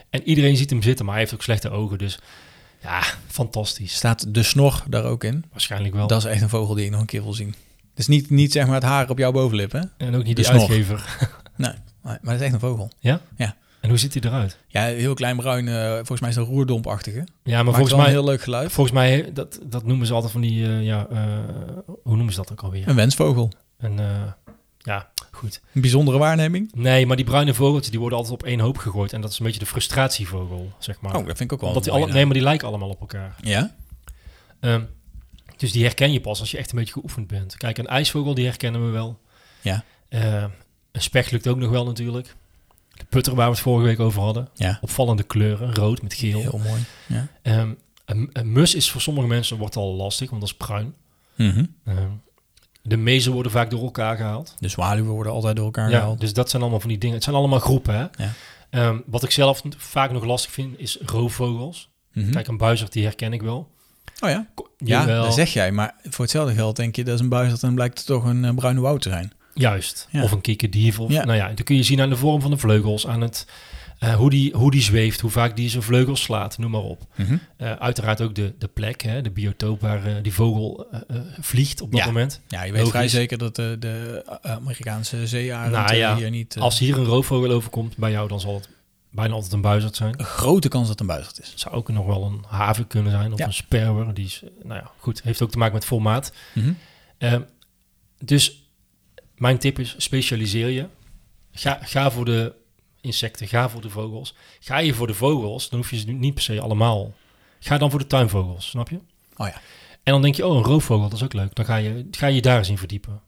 En iedereen ziet hem zitten, maar hij heeft ook slechte ogen. Dus ja, fantastisch. Staat de snor daar ook in? Waarschijnlijk wel. Dat is echt een vogel die ik nog een keer wil zien. Dus niet, niet zeg maar het haar op jouw bovenlip, hè? en ook niet de die snor. uitgever. Nee, maar dat is echt een vogel. Ja? Ja. En hoe ziet hij eruit? Ja, heel klein bruin, eh, volgens mij is dat roerdompachtige. Maar Ja, maar volgens volgens wel mij, een heel leuk geluid. volgens mij dat, dat noemen ze altijd van die... eh, ja, eh, hoe noemen ze dat ook alweer? Een wensvogel. Een, eh, ja, goed. Een bijzondere waarneming. Nee, maar die bruine vogeltjes die worden altijd op één hoop gegooid. En dat is een beetje de frustratievogel, zeg maar. Oh, dat vind ik ook wel Omdat een die alle, mooie nee, maar die lijken allemaal op elkaar. naam. Ja? Ehm, dus die herken je pas als je echt een beetje geoefend bent. Kijk, een ijsvogel, die herkennen we wel. Ja. Ehm, een specht lukt ook nog wel natuurlijk. De putter waar we het vorige week over hadden. Ja. Opvallende kleuren, rood met geel. Heel mooi. Ja. Ehm, een, een mus is voor sommige mensen wordt al lastig, want dat is bruin. Mhm. Ehm, de mezen worden vaak door elkaar gehaald. De zwaluwen worden altijd door elkaar Ja, gehaald. dus dat zijn allemaal van die dingen. Het zijn allemaal groepen, hè? Ja. Ehm, wat ik zelf n- vaak nog lastig vind, is roofvogels. Mhm. Kijk, een buizerd, die herken ik wel. Oh ja? Ko- Ja, Jawel, dat zeg jij. Maar voor hetzelfde geld denk je, dat is een buizerd en blijkt het toch een eh, bruine woud te zijn. Juist. Ja. Of een kikkerdief. Of, Ja. Nou ja, dan kun je zien aan de vorm van de vleugels, aan het, eh, hoe, die, hoe die zweeft, hoe vaak die zijn vleugels slaat, noem maar op. Mhm. Eh, uiteraard ook de, de plek, hè, de biotoop waar eh, die vogel eh, eh, vliegt op dat Ja. moment. Ja, je weet Logisch. vrij zeker dat de, de eh, Amerikaanse zeearend Nou eh, ja, hier niet... eh, Als hier een roofvogel overkomt bij jou, dan zal het bijna altijd een buizerd zijn. Een grote kans dat het een buizerd is. Het zou ook nog wel een haven kunnen zijn of Ja. een sperwer. Die is, eh, nou ja, goed, heeft ook te maken met formaat. Mhm. Ehm, dus mijn tip is, specialiseer je. Ga, ga voor de insecten, ga voor de vogels. Ga je voor de vogels, dan hoef je ze nu niet per se allemaal. Ga dan voor de tuinvogels, snap je? Oh ja. En dan denk je, oh, een roofvogel, dat is ook leuk. Dan ga je ga je daar eens in verdiepen.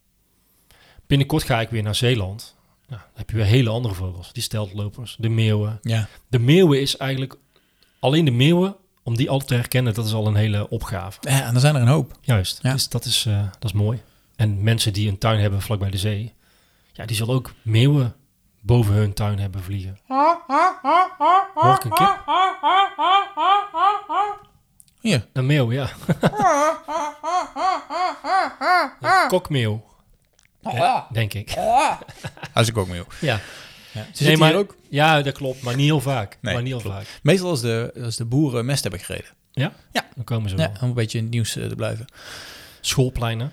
Binnenkort ga ik weer naar Zeeland. Nou, dan heb je weer hele andere vogels. Die steltlopers, de meeuwen. Ja. De meeuwen is eigenlijk... Alleen de meeuwen, om die al te herkennen, dat is al een hele opgave. ja, Eh, en er zijn er een hoop. Juist, Ja. dus dat is, eh, dat is mooi. En mensen die een tuin hebben vlakbij de zee, ja, die zullen ook meeuwen boven hun tuin hebben vliegen. Hoor ik een kip? Hier. Een meeuw, ja. Een kokmeeuw. Oh, Eh, Denk ik. Als ik ook mee. Ja. Ze nee, maar, maar ook. Ja, dat klopt, maar niet heel vaak. Nee, maar niet heel klopt. vaak. Meestal als de, als de boeren mest hebben gereden. Ja? Ja. Dan komen ze Ja, wel. om een beetje in het nieuws eh, te blijven. Schoolpleinen.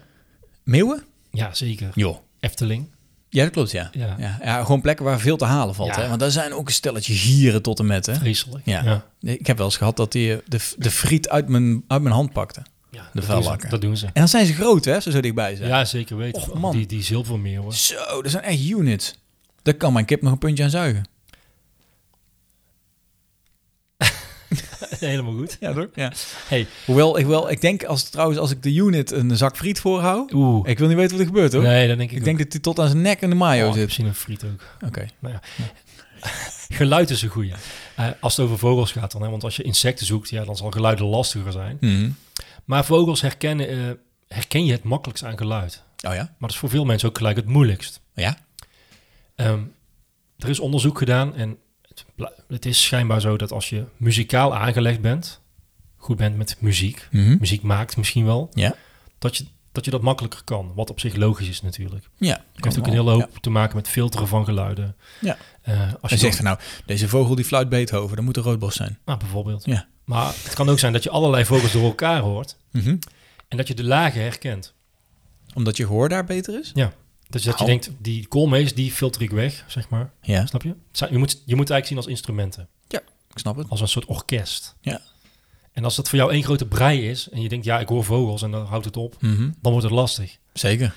Meeuwen? Ja, zeker. Joh. Efteling. Ja, dat klopt, ja. Ja. Ja. ja. gewoon plekken waar veel te halen valt. Ja. Hè? Want daar zijn ook een stelletje gieren tot en met. Hè? Vreselijk. Ja. ja. Nee, Ik heb wel eens gehad dat die eh, de, de friet uit mijn, uit mijn hand pakte. Ja, De dat, doen ze, vuillakken. dat doen ze. En dan zijn ze groot, hè, als ze zo dichtbij zijn. Ja, zeker weten. Och, man. Die, die zilvermeeuwen. Zo, dat zijn echt units. Daar kan mijn kip nog een puntje aan zuigen. Helemaal goed. Ja, toch? Ja. Hey. Hoewel, ik, wel, ik denk als, trouwens als ik de unit een zak friet voorhoud... Oeh. Ik wil niet weten wat er gebeurt, hoor. Nee, dan denk ik ik denk dat hij tot aan zijn nek in de mayo Oh, zit. Misschien een friet ook. Oké. Nou ja. Geluid is een goeie. Eh, als het over vogels gaat dan. Hè? Want als je insecten zoekt, ja, dan zal geluiden lastiger zijn. Mhm. Maar vogels herkennen, eh, herken je het makkelijkst aan geluid. Oh ja? Maar dat is voor veel mensen ook gelijk het moeilijkst. Ja? Ehm, er is onderzoek gedaan en het, bla- het is schijnbaar zo dat als je muzikaal aangelegd bent, goed bent met muziek, Mhm. muziek maakt misschien wel, Ja. dat je, dat je dat makkelijker kan. Wat op zich logisch is natuurlijk. Het Ja. heeft ook een hele hoop te maken met filteren van geluiden. Ja. Eh, als je Hij zegt dat- van nou, deze vogel die fluit Beethoven, dan moet een roodbos zijn. nou, bijvoorbeeld. Ja. Maar het kan ook zijn dat je allerlei vogels door elkaar hoort en dat je de lagen herkent. Mhm. Omdat je gehoor daar beter is? Ja. Dus dat je Au. denkt, die koolmees, die filter ik weg, zeg maar. Ja. Snap je? Het zijn- Je moet, je moet het eigenlijk zien als instrumenten. Ik snap het. als een soort orkest. Ja. En als dat voor jou één grote brei is en je denkt, ja, ik hoor vogels en dan houdt het op, dan wordt het lastig. Mhm. Zeker.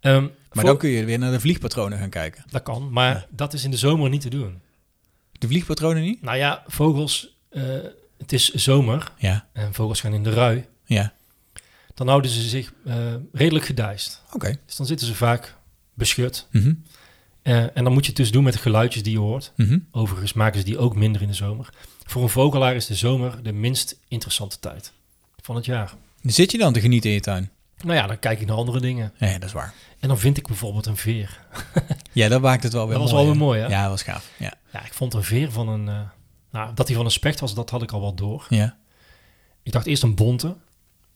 Ehm, Maar voor- dan kun je weer naar de vliegpatronen gaan kijken. dat kan, maar dat is in de zomer niet te doen. De vliegpatronen niet? Nou ja, vogels, eh, het is zomer Ja. en vogels gaan in de rui. Ja. Dan houden ze zich eh, redelijk gedijst. Oké. Dus dan zitten ze vaak beschut. Mhm. Eh, en dan moet je het dus doen met de geluidjes die je hoort. Mhm. Overigens maken ze die ook minder in de zomer. Voor een vogelaar is de zomer de minst interessante tijd van het jaar. Dan Zit je dan te genieten in je tuin? Nou ja, dan kijk ik naar andere dingen. Nee, dat is waar. En dan vind ik bijvoorbeeld een veer. Ja, dat maakt het wel weer Dat was mooi, wel weer mooi, hè? Ja, dat was gaaf. Ja. Ja, ik vond een veer van een... eh, nou, dat hij van een specht was, dat had ik al wel door. Ja. Ik dacht eerst een bonte.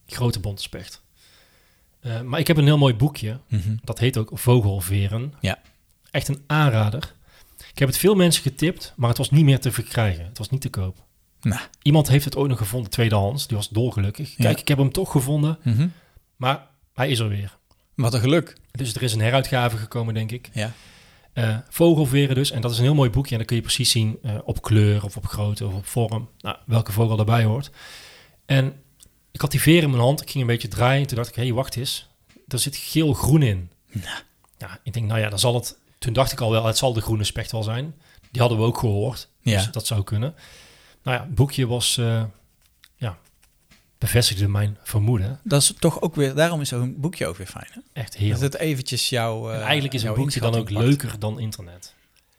Grote bonte specht. Eh, maar ik heb een heel mooi boekje. Mhm. Dat heet ook Vogelveren. Ja. Echt een aanrader. Ik heb het veel mensen getipt, maar het was niet meer te verkrijgen. Het was niet te koop. Nou. Iemand heeft het ooit nog gevonden, tweedehands. Die was dolgelukkig. Ja. Kijk, ik heb hem toch gevonden, Mhm. maar hij is er weer. Wat een geluk. Dus er is een heruitgave gekomen, denk ik. Ja. Eh, vogelveren dus. En dat is een heel mooi boekje. En dan kun je precies zien eh, op kleur of op grootte of op vorm. Nou, welke vogel daarbij hoort. En ik had die veren in mijn hand. Ik ging een beetje draaien. Toen dacht ik, hé, hey, wacht eens. Er zit geel-groen in. Ja, ik denk, nou ja, dan zal het... Toen dacht ik al wel, het zal de groene specht wel zijn. Die hadden we ook gehoord. Ja. Dus dat zou kunnen. Nou ja, het boekje was... eh, ja, bevestigde mijn vermoeden. Dat is toch ook weer, daarom is zo'n boekje ook weer fijn. Hè? Echt Dat heerlijk. het eventjes jouw. eh, En eigenlijk is een jouw boekje dan ook inschatting pakt. leuker dan internet.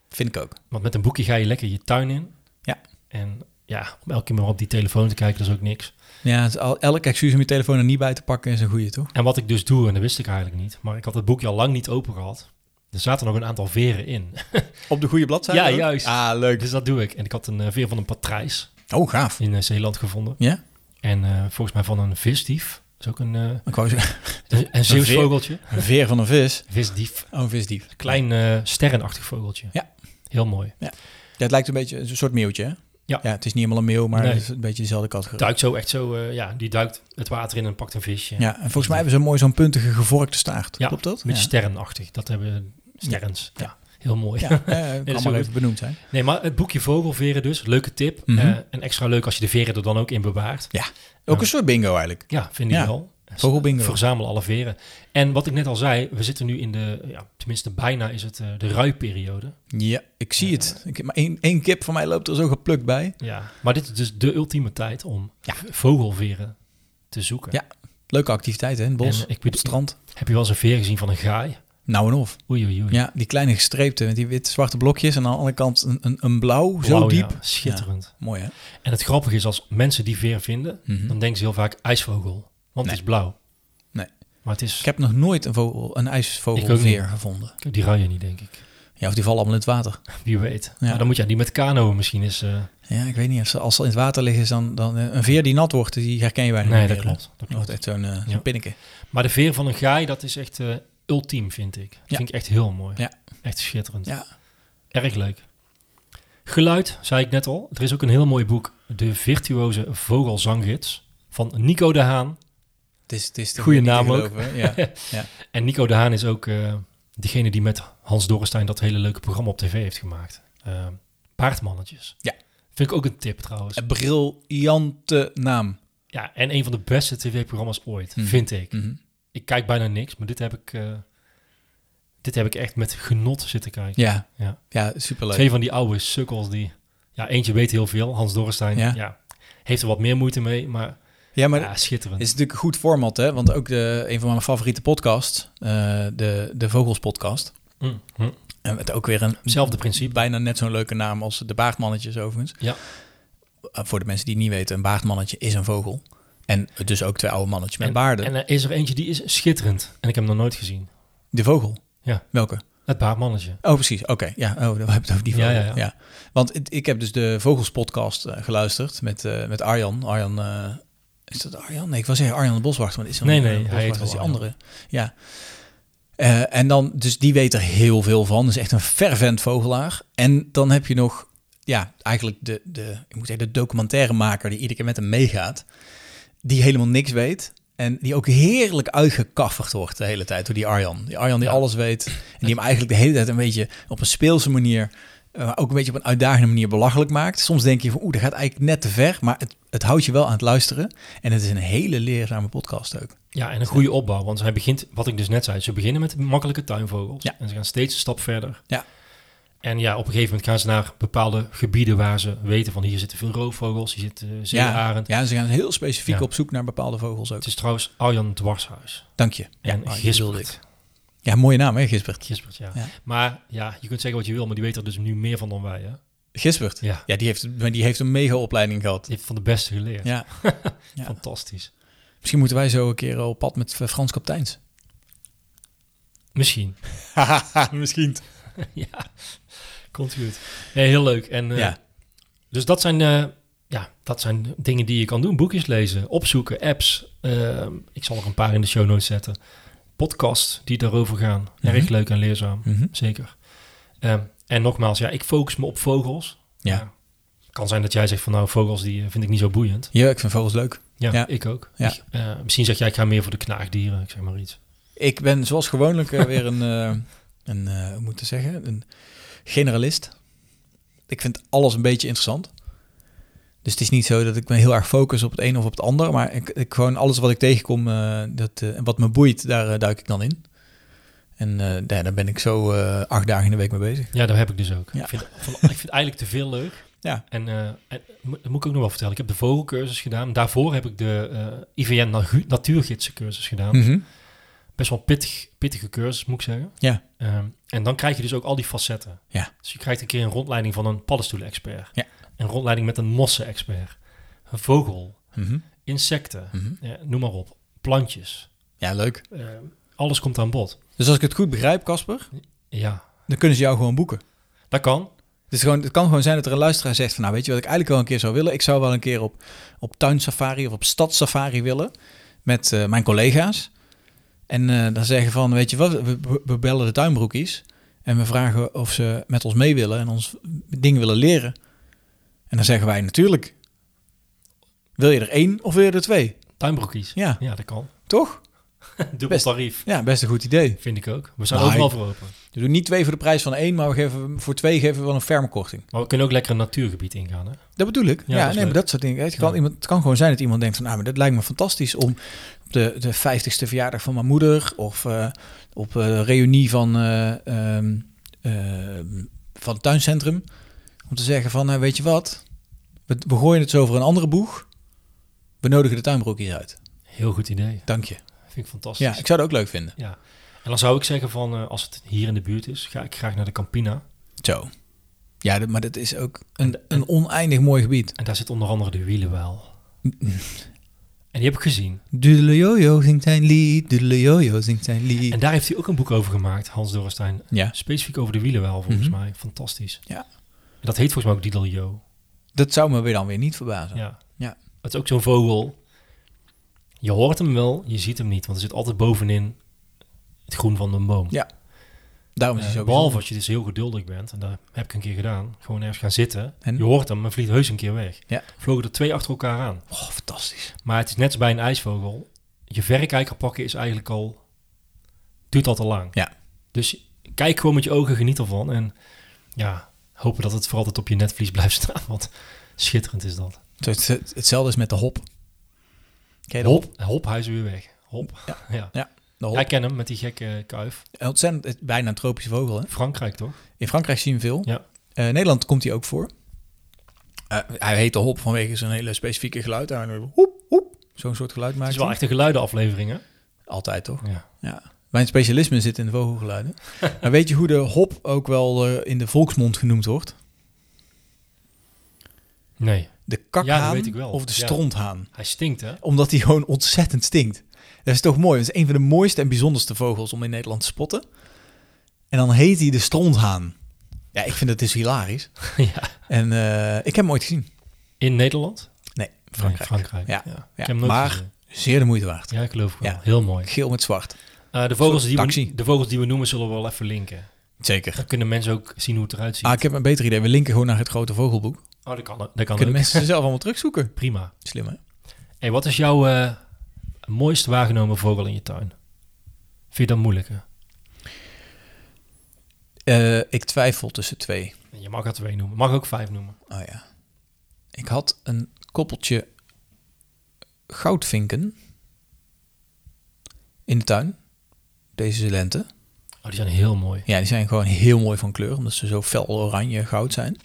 Vind ik ook. Want met een boekje ga je lekker je tuin in. Ja. En ja, om elke keer maar op die telefoon te kijken, dat is ook niks. Ja, het is Dus al, elk excuus om je telefoon er niet bij te pakken is een goede, toch? En wat ik dus doe, en dat wist ik eigenlijk niet, maar ik had het boekje al lang niet open gehad. Er zaten nog een aantal veren in. Op de goede bladzijde? Ja, ook? juist. Ah, leuk. Dus dat doe ik. En ik had een eh, veer van een patrijs Oh, gaaf. in eh, Zeeland gevonden. Ja? En eh, volgens mij van een visdief. Dat is ook een, eh Ik wou zeggen, een, een Zeeuws veer? vogeltje. een veer van een vis. Visdief. Oh, een visdief. Klein eh, sterrenachtig vogeltje. Ja. Heel mooi. Ja, het lijkt een beetje een soort meeuwtje, hè? Ja. Het is niet helemaal een meeuw, maar Nee. het is een beetje dezelfde categorie. Duikt zo echt zo, eh, ja, die duikt het water in en pakt een visje. Ja, en volgens mij hebben ze mooi zo'n puntige gevorkte staart. Ja, Klopt dat? Met ja. sterrenachtig. Dat hebben sterrens. Ja. Ja. Heel mooi. Ja, eh, is kan wel maar goed. even benoemd zijn. Nee, maar het boekje Vogelveren dus, leuke tip. Mhm. Eh, en extra leuk als je de veren er dan ook in bewaart. Ja. Ook Ja. een soort bingo eigenlijk. Ja, vind ik Ja. wel. Vogelbingo. Verzamel alle veren. En wat ik net al zei, we zitten nu in de, ja, tenminste bijna is het eh, de ruiperiode. Ja, ik zie het. Ik, maar één, één kip van mij loopt er zo geplukt bij. Ja. Maar dit is dus de ultieme tijd om Ja. v- vogelveren te zoeken. Ja, leuke activiteit hè, in het bos, En eh, ik op weet- het strand. Heb je wel eens een veer gezien van een gaai? Nou en of. Oei, oei, oei. Ja, die kleine gestreepte met die wit-zwarte blokjes en aan de andere kant een, een, een blauw, zo Wauw, ja. diep. Schitterend. Mooi hè? En het grappige is, als mensen die veer vinden, Mhm. dan denken ze heel vaak ijsvogel. Want het Nee. is blauw. Nee. Maar het is, Ik heb nog nooit een, vogel, een Ik ook ijsvogelveer gevonden. die ruien niet, denk ik. Ja, of die vallen allemaal in het water. Wie weet. Ja. Maar dan moet je die met kanoën misschien eens... eh, Ja, ik weet niet. Als ze, als ze in het water liggen, is dan, dan eh, een veer die nat wordt, die herken je bijna nee, niet dat meer, hè? klopt. Dat Dat wordt klopt. echt zo'n eh, zo'n Ja. pinneke. Maar de veer van een gaai, dat is echt eh, ultiem, vind ik. Dat Ja. vind ik echt heel mooi. Ja. Echt schitterend. Ja. Erg leuk. Geluid, zei ik net al. Er is ook een heel mooi boek, De Virtuoze Vogelzanggids, van Nico de Haan. Het is, het is toch Goeie niet te naam ook. geloven, hè? Ja. En Nico de Haan is ook eh, degene die met Hans Dorrestein dat hele leuke programma op tv heeft gemaakt. Eh, paardmannetjes. Ja. Eh, Vind ik ook een tip trouwens. Een briljante naam. Ja, en een van de beste tv-programma's ooit, Mhm. vind ik. Mhm. ik kijk bijna niks, maar dit heb ik, eh, dit heb ik echt met genot zitten kijken. Ja. Ja. ja. superleuk. Twee van die oude sukkels die... Ja, eentje weet heel veel, Hans Dorrestein. Ja. Ja. heeft er wat meer moeite mee, maar Ja, maar ja, schitterend. het is natuurlijk een goed format, hè? Want ook de, een van mijn favoriete podcasts, eh, de, de Vogels podcast. Mm, mm. En met ook weer een... Hetzelfde principe. Bijna net zo'n leuke naam als de baardmannetjes overigens. Ja. Eh, voor de mensen die het niet weten, een baardmannetje is een vogel. En dus ook twee oude mannetjes met en, baarden. En er is er eentje die is schitterend. En ik heb hem nog nooit gezien. de vogel. Ja. Welke? Het baarmannetje. Oh, precies. Oké. Ja, oh, dan hebben we het over die Ja, vogel. ja, ja. Want het- ik heb dus de Vogelspodcast eh, geluisterd met, eh, met Arjan. Arjan, eh, is dat Arjan? Nee, ik was zeggen Arjan de Boswachter, maar dat is dan Nee, niet nee, Arjan de hij heet Boswachter, wel dat is die andere. Ja. Eh, en dan, dus die weet er heel veel van. Dus echt een fervent vogelaar. En dan heb je nog, ja, eigenlijk de, de, ik moet zeggen, de documentairemaker die iedere keer met hem meegaat. Die helemaal niks weet. En die ook heerlijk uitgekafferd wordt de hele tijd door die Arjan. Die Arjan die Ja. alles weet. En die hem eigenlijk de hele tijd een beetje op een speelse manier, eh, maar ook een beetje op een uitdagende manier belachelijk maakt. Soms denk je van, oeh, dat gaat eigenlijk net te ver. Maar het, het houdt je wel aan het luisteren. En het is een hele leerzame podcast ook. Ja, en een goede opbouw. Want hij begint, wat ik dus net zei, ze beginnen met makkelijke tuinvogels. Ja. En ze gaan steeds een stap verder. Ja. En ja, op een gegeven moment gaan ze naar bepaalde gebieden waar ze weten van hier zitten veel roofvogels, hier zit eh zeearend. Ja, ja, ze gaan heel specifiek Ja. op zoek naar bepaalde vogels ook. Het is trouwens Arjan Dwarshuis. Dank je. En oh, die wilde Gisbert. ik. Ja, mooie naam hè, Gisbert. Gisbert, ja. Ja. Maar ja, je kunt zeggen wat je wil, maar die weet er dus nu meer van dan wij. Hè? Gisbert. Ja, Ja, die, heeft, maar die heeft een mega opleiding gehad. die heeft van de beste geleerd. Ja. Ja. Fantastisch. Misschien moeten wij zo een keer op pad met eh, Frans Kapteins. Misschien. Misschien. ja, komt goed. Nee, heel leuk. En, eh, Ja. Dus dat zijn, eh, ja, dat zijn dingen die je kan doen. Boekjes lezen, opzoeken, apps. Eh, ik zal er een paar in de show notes zetten. Podcasts die daarover gaan. Erg leuk en leerzaam, Mhm. zeker. Eh, en nogmaals, ja, ik focus me op vogels. Ehm, Ja. kan zijn dat jij zegt van nou, vogels die eh, vind ik niet zo boeiend. Ja, ik vind vogels leuk. Ja, Ja. ik ook. Ja. Ik, eh, misschien zeg jij, ik ga meer voor de knaagdieren, ik zeg maar iets. Ik ben zoals gewoonlijk eh, weer een, eh, een eh, hoe moet ik het zeggen, een generalist. Ik vind alles een beetje interessant. Dus het is niet zo dat ik me heel erg focus op het een of op het ander. Maar ik, ik gewoon alles wat ik tegenkom eh, dat, eh, en wat me boeit, daar eh, duik ik dan in. En eh, daar, daar ben ik zo eh, acht dagen in de week mee bezig. Ja, dat heb ik dus ook. Ja. Ik, vind, van- ik vind eigenlijk te veel leuk. Ja. En, eh, en mo- dat moet ik ook nog wel vertellen. Ik heb de vogelcursus gedaan. Daarvoor heb ik de eh, IVN nagu- natuurgidsencursus gedaan. Mhm. Best wel pittig, pittige cursus, moet ik zeggen. Ja. Ehm, en dan krijg je dus ook al die facetten. Ja. Dus je krijgt een keer een rondleiding van een paddenstoelen-expert. Ja. Een rondleiding met een mossen-expert. Een vogel. Mhm. Insecten. Mhm. Ja, noem maar op. Plantjes. Ja, leuk. Ehm, alles komt aan bod. Dus als ik het goed begrijp, Casper, Ja, dan kunnen ze jou gewoon boeken. dat kan. Dus gewoon, het kan gewoon zijn dat er een luisteraar zegt van... nou, weet je wat ik eigenlijk wel een keer zou willen? Ik zou wel een keer op, op tuinsafari of op stadsafari willen... met eh, mijn collega's. En eh, dan zeggen van, weet je wat, we, we- we bellen de tuinbroekies... en we vragen of ze met ons mee willen en ons dingen willen leren. En dan zeggen wij natuurlijk... wil je er één of wil je er twee? Tuinbroekies. Ja, Ja, dat kan. toch? Dubbel Best. tarief. Ja, best een goed idee. Vind ik ook. We zijn Nou, overal ik- voor open. We doen niet twee voor de prijs van één... maar we geven, voor twee geven we wel een ferme korting. Maar we kunnen ook lekker een natuurgebied ingaan. Hè? Dat bedoel ik. Ja, Ja, dat is nee, maar leuk. dat soort dingen. Het kan, Ja. iemand, het kan gewoon zijn dat iemand denkt van... nou, maar dat lijkt me fantastisch om op de, de 50ste verjaardag van mijn moeder... of eh, op eh, de reunie van, eh, ehm, ehm, van het tuincentrum... om te zeggen van, eh, weet je wat? We, we gooien het zo voor een andere boeg. We nodigen de tuinbroekjes uit. Heel goed idee. Dank je. Vind ik fantastisch. Ja, ik zou dat ook leuk vinden. Ja. En dan zou ik zeggen van, eh, als het hier in de buurt is, ga ik graag naar de Campina. Zo. Ja, dat- maar dat is ook een, een oneindig mooi gebied. En daar zit onder andere de wielenwaal. en die heb ik gezien. Doedelejojo zingt zijn lied, doedelejojo zingt zijn lied. En daar heeft hij ook een boek over gemaakt, Hans Dorrestein. Ja. Mhm. Specifiek over de wielenwaal, volgens mij. Fantastisch. Ja. En dat heet volgens mij ook Didel Jo. Dat zou me weer dan weer niet verbazen. Ja. Ja. Het is ook zo'n vogel. Je hoort hem wel, je ziet hem niet. Want er zit altijd bovenin het groen van de boom. Ja, Daarom is hij Eh, zo behalve bijzonder. als je dus heel geduldig bent, en dat heb ik een keer gedaan, gewoon ergens gaan zitten. En? Je hoort hem, maar vliegt heus een keer weg. Ja. Vlogen er twee achter elkaar aan. Oh, fantastisch. Maar het is net als bij een ijsvogel. Je verrekijker pakken is eigenlijk al, duurt al te lang. Ja. Dus kijk gewoon met je ogen, geniet ervan. En ja, hopen dat het voor altijd op je netvlies blijft staan, want schitterend is dat. Het- het- het- Hetzelfde is met de hop. Ken je de hop? Hop, hop, hij is weer weg. Hop. Ja. De hop. Jij kent hem met die gekke kuif. Een Ontzettend, het- bijna een tropische vogel. Hè? Frankrijk toch? In Frankrijk zie je hem veel. Ja. Eh, in Nederland komt hij ook voor. Eh, hij heet de hop vanwege zijn hele specifieke geluid. Hij- Hoep, hoep. Zo'n soort geluid Het maakt is wel hij. echt een geluidenaflevering, hè? Altijd toch? Ja. Ja. Mijn specialisme zit in de vogelgeluiden. maar weet je hoe de hop ook wel eh, in de volksmond genoemd wordt? Nee. De kakhaan Ja, dat weet ik wel. of de Ja. stronthaan. Hij stinkt, hè? Omdat hij gewoon ontzettend stinkt. Dat is toch mooi. Dat is een van de mooiste en bijzonderste vogels om in Nederland te spotten. En dan heet hij de stronthaan. Ja, ik vind het dus hilarisch. ja. En eh, ik heb hem ooit gezien. In Nederland? Nee, Nee, Frankrijk. Frankrijk. Ja, Ik heb ja. hem nooit maar gezien. zeer de moeite waard. Ja, ik geloof ik wel. Ja. Heel mooi. Geel met zwart. Eh, de, vogels die we, taxi. de vogels die we noemen zullen we wel even linken. Zeker. Dan kunnen mensen ook zien hoe het eruit ziet. Ah, ik heb een beter idee. We linken gewoon naar het grote vogelboek. oh, dat kan, dat kan ook. Kunnen mensen ze zelf allemaal terugzoeken. Prima. Slim, hè? Hey, wat is jouw eh, mooist waargenomen vogel in je tuin? Vind je dat moeilijk? hè? Eh, ik twijfel tussen twee. Je mag er twee noemen. Mag ook vijf noemen. Oh ja. Ik had een koppeltje goudvinken in de tuin. Deze lente. Oh, die zijn heel mooi. Ja, die zijn gewoon heel mooi van kleur, omdat ze zo fel oranje goud zijn.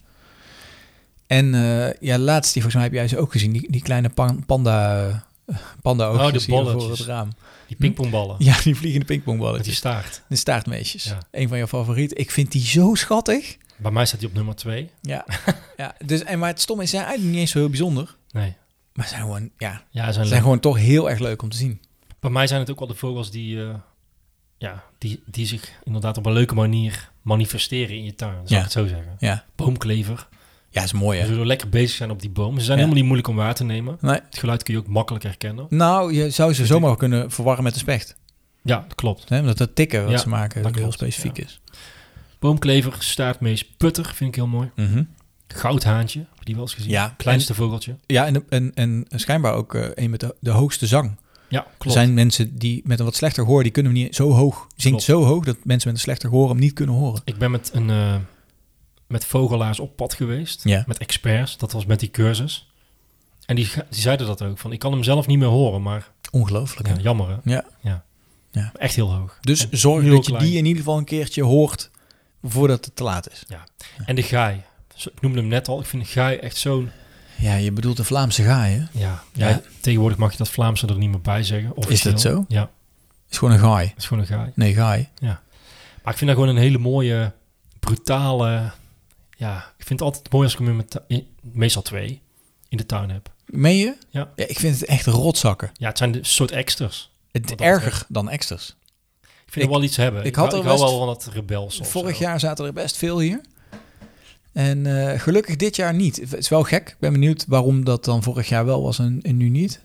En eh, ja, laatst, die volgens mij heb jij ze ook gezien, die, die kleine pan- panda, eh, panda oogjes Oh, de hier voor bolletjes. het raam. Die pingpongballen. Ja, die vliegende Met die pingpongballetjes, staart. de staartmeisjes. Ja. Een van jouw favorieten. Ik vind die zo schattig. Bij mij staat die op nummer twee. Ja, ja dus, en maar het stomme is, ze zijn eigenlijk niet eens zo heel bijzonder. Nee. Maar ze zijn gewoon, ja, Ja, ze ze zijn zijn leuk. gewoon toch heel erg leuk om te zien. Bij mij zijn het ook wel de vogels die, eh, ja, die, die zich inderdaad op een leuke manier manifesteren in je tuin. Zou Ja. ik het zo zeggen. Ja, Boomklever. ja is mooi Ze hè. zullen lekker bezig zijn op die boom. Ze zijn Ja. helemaal niet moeilijk om waar te nemen. Nee. Het geluid kun je ook makkelijk herkennen. Nou, je zou ze zomaar kunnen verwarren met de specht. Ja, dat klopt. Hè? Omdat dat tikken wat Ja, ze maken dat heel klopt, specifiek ja. is. Boomklever, staartmees, putter vind ik heel mooi. Mhm. Goudhaantje, heb je die wel eens gezien? Ja. Kleinste vogeltje. Ja, en, en, en schijnbaar ook eh, een met de, de hoogste zang. Ja, Er klopt. zijn mensen die met een wat slechter gehoor, die kunnen hem niet zo hoog, zingt Klopt. zo hoog dat mensen met een slechter gehoor hem niet kunnen horen. Ik ben met, een, eh, met vogelaars op pad geweest. Ja. Met experts. Dat was met die cursus. En die, ge- die zeiden dat ook. Van, ik kan hem zelf niet meer horen, maar Ongelooflijk. ja, hè? jammer hè. Ja. ja. Ja. Echt heel hoog. Dus En zorg heel dat je klein. die in ieder geval een keertje hoort voordat het te laat is. En de gaai. Zo- Ik noemde hem net al. Ik vind de gaai echt zo'n... Ja, je bedoelt de Vlaamse gaai, hè? Ja, ja. Ja. tegenwoordig mag je dat Vlaamse er niet meer bij zeggen. officieel. dat zo? Ja, Is gewoon een gaai. het is gewoon een gaai. Nee, gaai. Maar ik vind dat gewoon een hele mooie, brutale... Ja, ik vind het altijd mooi als ik hem in mijn tu- in- meestal twee, in de tuin heb. Meen je? Ja. Ik vind het echt rotzakken. Ja, het zijn de soort extras. Het Wat dat erger dan extras. Ik vind het Ik- wel iets hebben. ik Ik, had hou- er ik hou best- wel van dat rebels. of Vorig zo. jaar zaten er best veel hier. En eh, gelukkig dit jaar niet. Het is wel gek. Ik ben benieuwd waarom dat dan vorig jaar wel was en, en nu niet.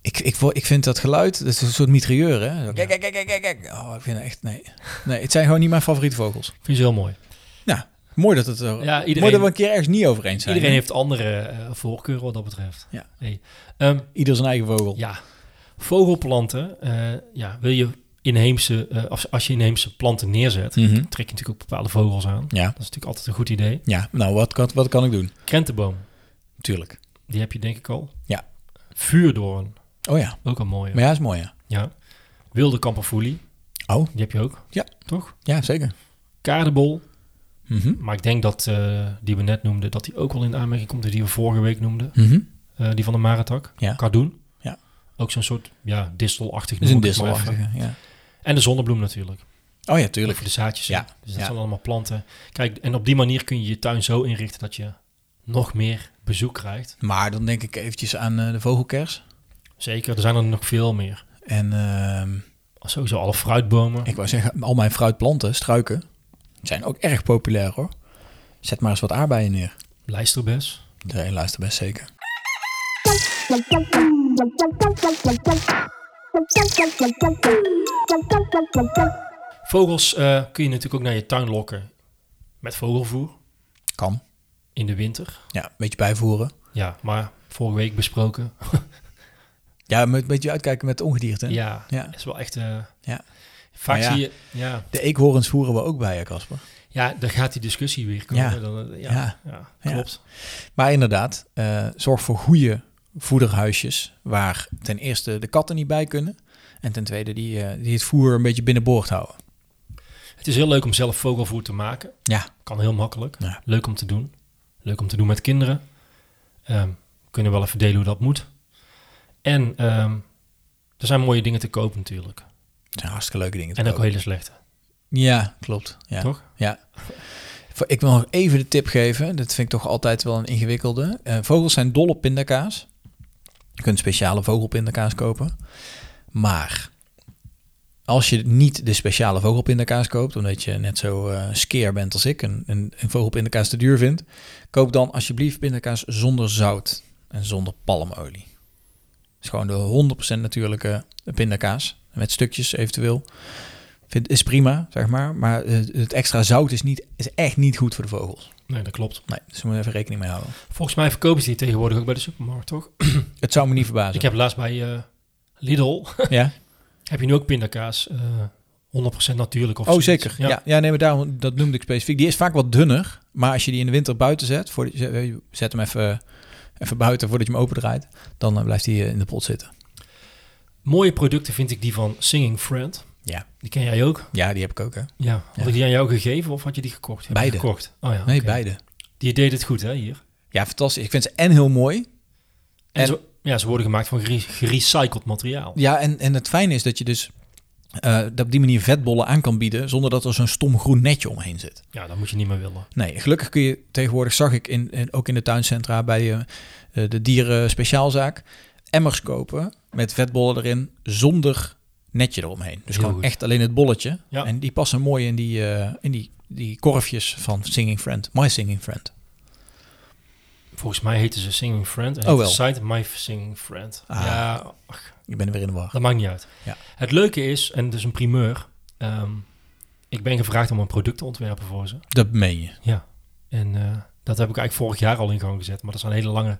Ik, ik, vo- ik vind dat geluid, dat is een soort mitrailleur, hè? Zo, Kijk, kijk, kijk, kijk, kijk, kijk. Oh, ik vind het echt, nee. Nee, het zijn gewoon niet mijn favoriete vogels. Ik vind ze heel mooi. Mooi dat het er, Ja, mooi iedereen- dat we een keer ergens niet over eens zijn. Iedereen hè? heeft andere eh, voorkeuren wat dat betreft. Ja. Hey. Ehm, Ieder zijn eigen vogel. ja. Vogelplanten. eh, ja, wil je inheemse, eh, als, als je inheemse planten neerzet, Mhm. trek je natuurlijk ook bepaalde vogels aan. Ja. Dat is natuurlijk altijd een goed idee. Ja, nou, wat kan, wat kan ik doen? Krentenboom, Tuurlijk. die heb je denk ik al. Ja. Vuurdoorn, Oh ja, ook een mooie. maar ja, is mooi, hè? Ja. Wilde kamperfoelie. Oh. Die heb je ook. Ja. Toch? Ja, zeker. Kaardebol. Mhm. Maar ik denk dat eh, die we net noemden, dat die ook wel in aanmerking komt. Die we vorige week noemden. Mhm. Eh, die van de Maratak. Ja. Cardoen. Ja. Ook zo'n soort ja, distelachtig. Dus noem een ik het maar even. distelachtige, ja. En de zonnebloem natuurlijk. Oh ja, tuurlijk. Voor de zaadjes. hè. Ja. Dus dat Ja. zijn allemaal planten. Kijk, en op die manier kun je je tuin zo inrichten dat je nog meer bezoek krijgt. Maar dan denk ik eventjes aan eh, de vogelkers. Zeker, er zijn er nog veel meer. En ehm, Sowieso alle fruitbomen. ik wou zeggen, al mijn fruitplanten, struiken, zijn ook erg populair hoor. Zet maar eens wat aardbeien neer. Lijsterbes. Nee, luister best zeker. Vogels eh, kun je natuurlijk ook naar je tuin lokken. Met vogelvoer. Kan. In de winter. Ja, een beetje bijvoeren. Ja, maar vorige week besproken. Ja, moet een beetje uitkijken met de ongedierte. hè? Ja, Ja. is wel echt... eh, Ja. Vaak Maar ja. zie je... Ja, De eekhoorns voeren we ook bij, hè, Casper. ja, daar gaat die discussie weer komen. Ja. Dan, eh, ja, ja. Ja. Ja. klopt. Maar inderdaad, eh, zorg voor goede voederhuisjes waar ten eerste de katten niet bij kunnen. En ten tweede die, eh, die het voer een beetje binnenboord houden. Het is heel leuk om zelf vogelvoer te maken. Ja. Kan heel makkelijk. Ja. Leuk om te doen. Leuk om te doen met kinderen. Ehm, we kunnen wel even delen hoe dat moet. En ehm, er zijn mooie dingen te koop natuurlijk. Dat zijn hartstikke leuke dingen. te En ook kopen. hele slechte, Ja, klopt. Ja. toch? Ja. Voor- Ik wil nog even de tip geven. Dat vind ik toch altijd wel een ingewikkelde. Eh, vogels zijn dol op pindakaas. Je kunt speciale vogelpindakaas kopen. Maar Als je niet de speciale vogelpindakaas koopt, omdat je net zo eh skeer bent als ik en, en, en vogelpindakaas te duur vindt, koop dan alsjeblieft pindakaas zonder zout en zonder palmolie. Het is gewoon de 100% natuurlijke pindakaas, met stukjes eventueel. Vind, is prima, zeg maar, maar eh, het extra zout is, niet, is echt niet goed voor de vogels. Nee, dat klopt. Nee, dus daar moet je even rekening mee houden. Volgens mij verkopen ze die tegenwoordig ook bij de supermarkt, toch? Het zou me niet verbazen. Ik heb laatst bij eh, Lidl, ja? heb je nu ook pindakaas, eh 100% natuurlijk of Oh, zoiets. zeker. Ja, ja. nee, maar daarom, dat noemde ik specifiek. Die is vaak wat dunner, maar als je die in de winter buiten zet, voor de, zet hem even, even buiten voordat je hem opendraait, dan eh, blijft hij eh, in de pot zitten. Mooie producten vind ik die van Singing Friend. Ja. Die ken jij ook? Ja, die heb ik ook, hè? Ja. Had Ja. ik die aan jou gegeven of had je die gekocht? Heb je Beide. Gekocht? Oh, ja, Nee, oké. beide. Die deed het goed, hè, hier. Ja, fantastisch. Ik vind ze en heel mooi. En, En- zo- ja, ze worden gemaakt van gere- gerecycled materiaal. Ja, en, en het fijne is dat je dus eh, dat op die manier vetbollen aan kan bieden, zonder dat er zo'n stom groen netje omheen zit. Ja, dat moet je niet meer willen. Nee, gelukkig kun je tegenwoordig, zag ik in, in- ook in de tuincentra bij eh, eh, de dieren speciaalzaak, emmers kopen met vetbollen erin zonder netje eromheen. Dus Heel gewoon goed. echt alleen het bolletje. Ja. En die passen mooi in, die, eh, in die, die korfjes van Singing Friend, My Singing Friend. Volgens mij heten ze Singing Friend. En Oh, de wel. site My Singing Friend. Ah. Ja, ach, Ik ben er weer in de war. Dat maakt niet uit. Ja. Het leuke is, en dus een primeur, ehm, ik ben gevraagd om een product te ontwerpen voor ze. Dat meen je. Ja. En eh, dat heb ik eigenlijk vorig jaar al in gang gezet, maar dat zijn hele lange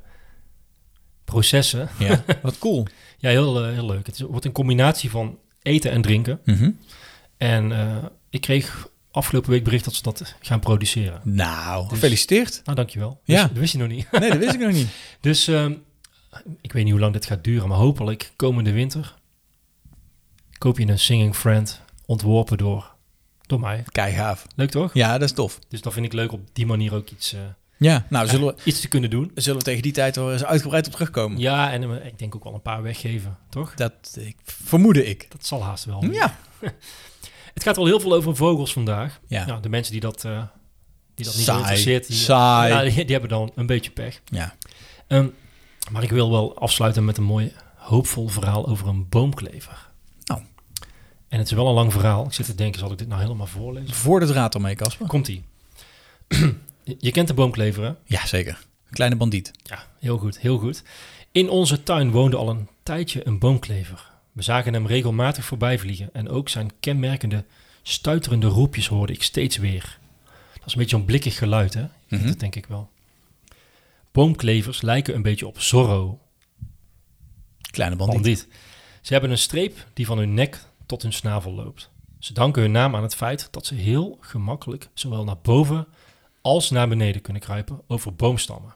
processen. Ja, wat cool. Ja, heel, eh, heel leuk. Het is- wordt een combinatie van eten en drinken. Mhm. En eh, ik kreeg afgelopen week bericht dat ze dat gaan produceren. Nou, Dus- gefeliciteerd. Nou, dankjewel. Ja. Wist- Dat wist je nog niet. Nee, dat wist ik nog niet. Dus ehm, ik weet niet hoe lang dit gaat duren, maar hopelijk komende winter koop je een Singing Friend ontworpen door, door mij. Kei gaaf. Leuk toch? Ja, dat is tof. Dus dan vind ik leuk op die manier ook iets, eh, Ja, nou, zullen we, iets te kunnen doen. zullen we tegen die tijd wel eens uitgebreid op terugkomen? Ja, en eh, ik denk ook wel een paar weggeven, toch? Dat ik, vermoedde ik. Dat zal haast wel. Ja. Het gaat wel heel veel over vogels vandaag. Ja. Nou, de mensen die dat, eh, die dat niet Saai, interesseert, die, saai. Ja, die, die hebben dan een beetje pech. Ja. Ehm, maar ik wil wel afsluiten met een mooi hoopvol verhaal over een boomklever. Nou. En het is wel een lang verhaal. Ik zit te denken, zal ik dit nou helemaal voorlezen? Voor de draad ermee, Casper. Komt-ie. Je kent de boomklever, hè? Ja, zeker. Kleine bandiet. Ja, heel goed, heel goed. In onze tuin woonde al een tijdje een boomklever. We zagen hem regelmatig voorbij vliegen en ook zijn kenmerkende stuiterende roepjes hoorde ik steeds weer. Dat is een beetje zo'n blikkig geluid, hè? Je kent Mhm. Dat denk ik wel. Boomklevers lijken een beetje op Zorro, Kleine bandiet. bandiet. Ze hebben een streep die van hun nek tot hun snavel loopt. Ze danken hun naam aan het feit dat ze heel gemakkelijk zowel naar boven als naar beneden kunnen kruipen over boomstammen.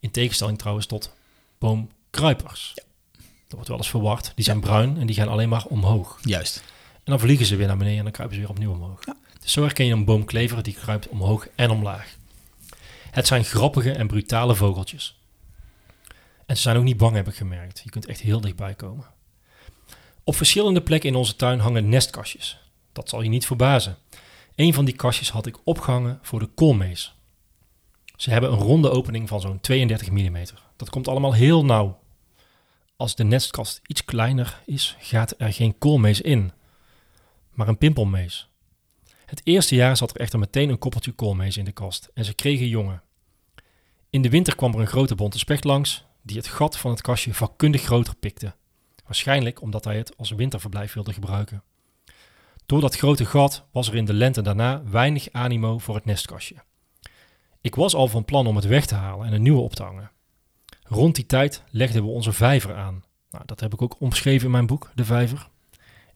In tegenstelling trouwens tot boomkruipers. Dat wordt wel eens verward. Die zijn bruin en die gaan alleen maar omhoog. Juist. En dan vliegen ze weer naar beneden en dan kruipen ze weer opnieuw omhoog. Dus zo herken je een boomklever die kruipt omhoog en omlaag. Het zijn grappige en brutale vogeltjes. En ze zijn ook niet bang, heb ik gemerkt. Je kunt echt heel dichtbij komen. Op verschillende plekken in onze tuin hangen nestkastjes. Dat zal je niet verbazen. Een van die kastjes had ik opgehangen voor de koolmees. Ze hebben een ronde opening van zo'n 32 mm. Dat komt allemaal heel nauw. Als de nestkast iets kleiner is, gaat er geen koolmees in maar een pimpelmees. Het eerste jaar zat er echter meteen een koppeltje koolmees in de kast en ze kregen jongen. In de winter kwam er een grote bonte specht langs die het gat van het kastje vakkundig groter pikte. Waarschijnlijk omdat hij het als winterverblijf wilde gebruiken. Door dat grote gat was er in de lente daarna weinig animo voor het nestkastje. Ik was al van plan om het weg te halen en een nieuwe op te hangen. Rond die tijd legden we onze vijver aan. Nou, dat heb ik ook omschreven in mijn boek, De Vijver.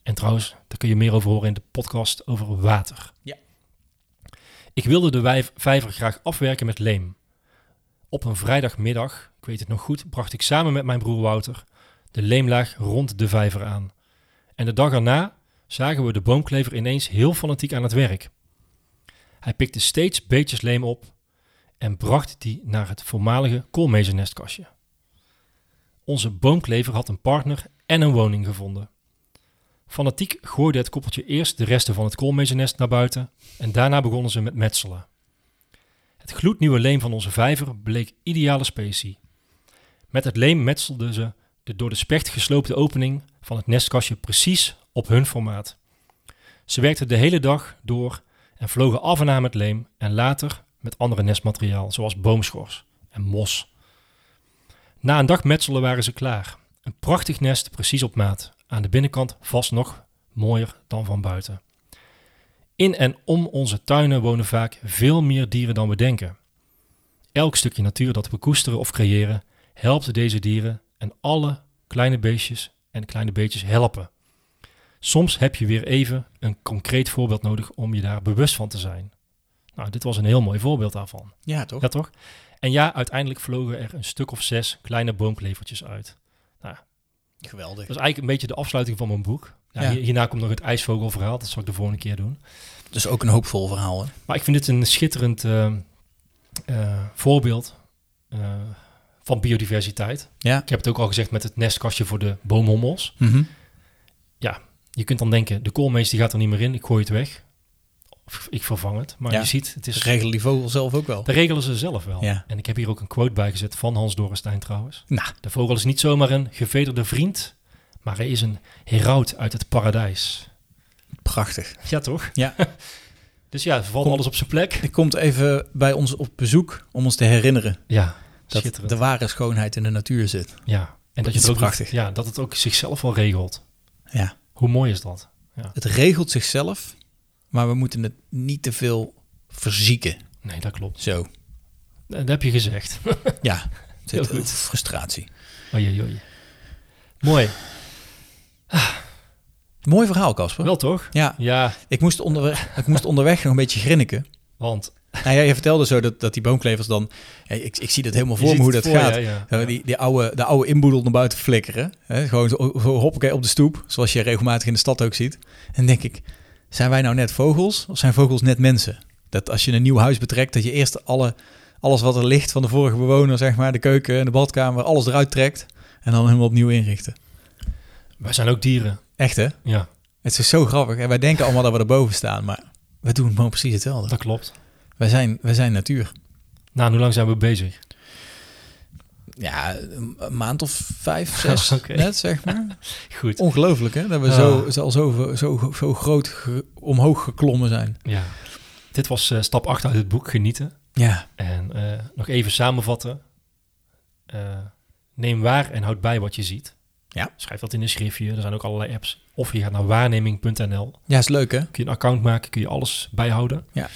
En trouwens, daar kun je meer over horen in de podcast over water. Ja. Ik wilde de wijf- vijver graag afwerken met leem. Op een vrijdagmiddag, ik weet het nog goed, bracht ik samen met mijn broer Wouter de leemlaag rond de vijver aan. En de dag erna zagen we de boomklever ineens heel fanatiek aan het werk. Hij pikte steeds beetjes leem op en bracht die naar het voormalige koolmezennestkastje. Onze boomklever had een partner en een woning gevonden. Fanatiek gooide het koppeltje eerst de resten van het koolmezennest naar buiten en daarna begonnen ze met metselen. Het gloednieuwe leem van onze vijver bleek ideale specie. Met het leem metselden ze de door de specht gesloopte opening van het nestkastje precies op hun formaat. Ze werkten de hele dag door en vlogen af en aan met leem en later met andere nestmateriaal, zoals boomschors en mos. Na een dag metselen waren ze klaar. Een prachtig nest, precies op maat. Aan de binnenkant vast nog mooier dan van buiten. In en om onze tuinen wonen vaak veel meer dieren dan we denken. Elk stukje natuur dat we koesteren of creëren, helpt deze dieren en alle kleine beestjes en kleine beetjes helpen. Soms heb je weer even een concreet voorbeeld nodig om je daar bewust van te zijn. Nou, dit was een heel mooi voorbeeld daarvan. Ja, toch? Ja, toch? En ja, uiteindelijk vlogen er een stuk of zes kleine boomklevertjes uit. Geweldig. Dat is eigenlijk een beetje de afsluiting van mijn boek. Ja, Ja. hier- Hierna komt nog het ijsvogelverhaal. Dat zal ik de volgende keer doen. Dus ook een hoopvol verhaal, hè? Maar ik vind dit een schitterend eh, eh, voorbeeld eh, van biodiversiteit. Ja. Ik heb het ook al gezegd met het nestkastje voor de boomhommels. Mhm. Je kunt dan denken, de koolmees die gaat er niet meer in. Ik gooi het weg. Of ik vervang het. Maar Ja. je ziet, het Dus is... regelen die vogel zelf ook wel. Dat regelen ze zelf wel. Ja. En ik heb hier ook een quote bij gezet van Hans Dorrestein trouwens. Nou. De vogel is niet zomaar een gevederde vriend, maar hij is een heraut uit het paradijs. Prachtig. Ja, toch? Ja. dus ja, valt Kom. alles op zijn plek. Die komt even bij ons op bezoek om ons te herinneren Ja, dat schitterend. de ware schoonheid in de natuur zit. Ja. En dat je is het ook prachtig. Ja, dat het ook zichzelf wel regelt. Ja. Hoe mooi is dat? Het regelt zichzelf, maar we moeten het niet te veel verzieken. Nee, dat klopt. Zo. Eh, Dat heb je gezegd. Ja. Zit Heel goed. ook Frustratie. Oei, oei, oei. Mooi. Mooi verhaal, Casper. Wel toch? Ja, Ja, ik moest, onderweg, ik moest onderweg nog een beetje grinniken. want... Nou ja, je vertelde zo dat, dat die boomklevers dan... Ja, ik, ik zie dat helemaal je voor me ziet hoe het dat voor je, gaat. ja, ja. Eh, Die, die oude, de oude inboedel naar buiten flikkeren. Hè? Gewoon zo, zo hoppakee op de stoep, zoals je regelmatig in de stad ook ziet. En denk ik, zijn wij nou net vogels of zijn vogels net mensen? Dat als je een nieuw huis betrekt, dat je eerst alle, alles wat er ligt van de vorige bewoner, zeg maar, de keuken en de badkamer, alles eruit trekt en dan helemaal opnieuw inrichten. Wij zijn ook dieren. Echt hè? Ja, Het is zo grappig. En wij denken allemaal dat we erboven staan, maar we doen gewoon precies hetzelfde. dat klopt. Wij zijn, wij zijn natuur. Nou, en hoe lang zijn we bezig? Ja, een een maand of vijf, zes, Oké. net zeg maar. Goed. Ongelooflijk, hè? Dat we Ah. zo, zo, al zo, zo, zo groot ge- omhoog geklommen zijn. Ja. Dit was eh, stap 8 uit het boek, genieten. Ja, En eh, nog even samenvatten. Eh, neem waar en houd bij wat je ziet. Ja. Schrijf dat in een schriftje. Er zijn ook allerlei apps. Of je gaat naar waarneming.nl. ja is leuk, hè? Kun je een account maken, kun je alles bijhouden. Ja.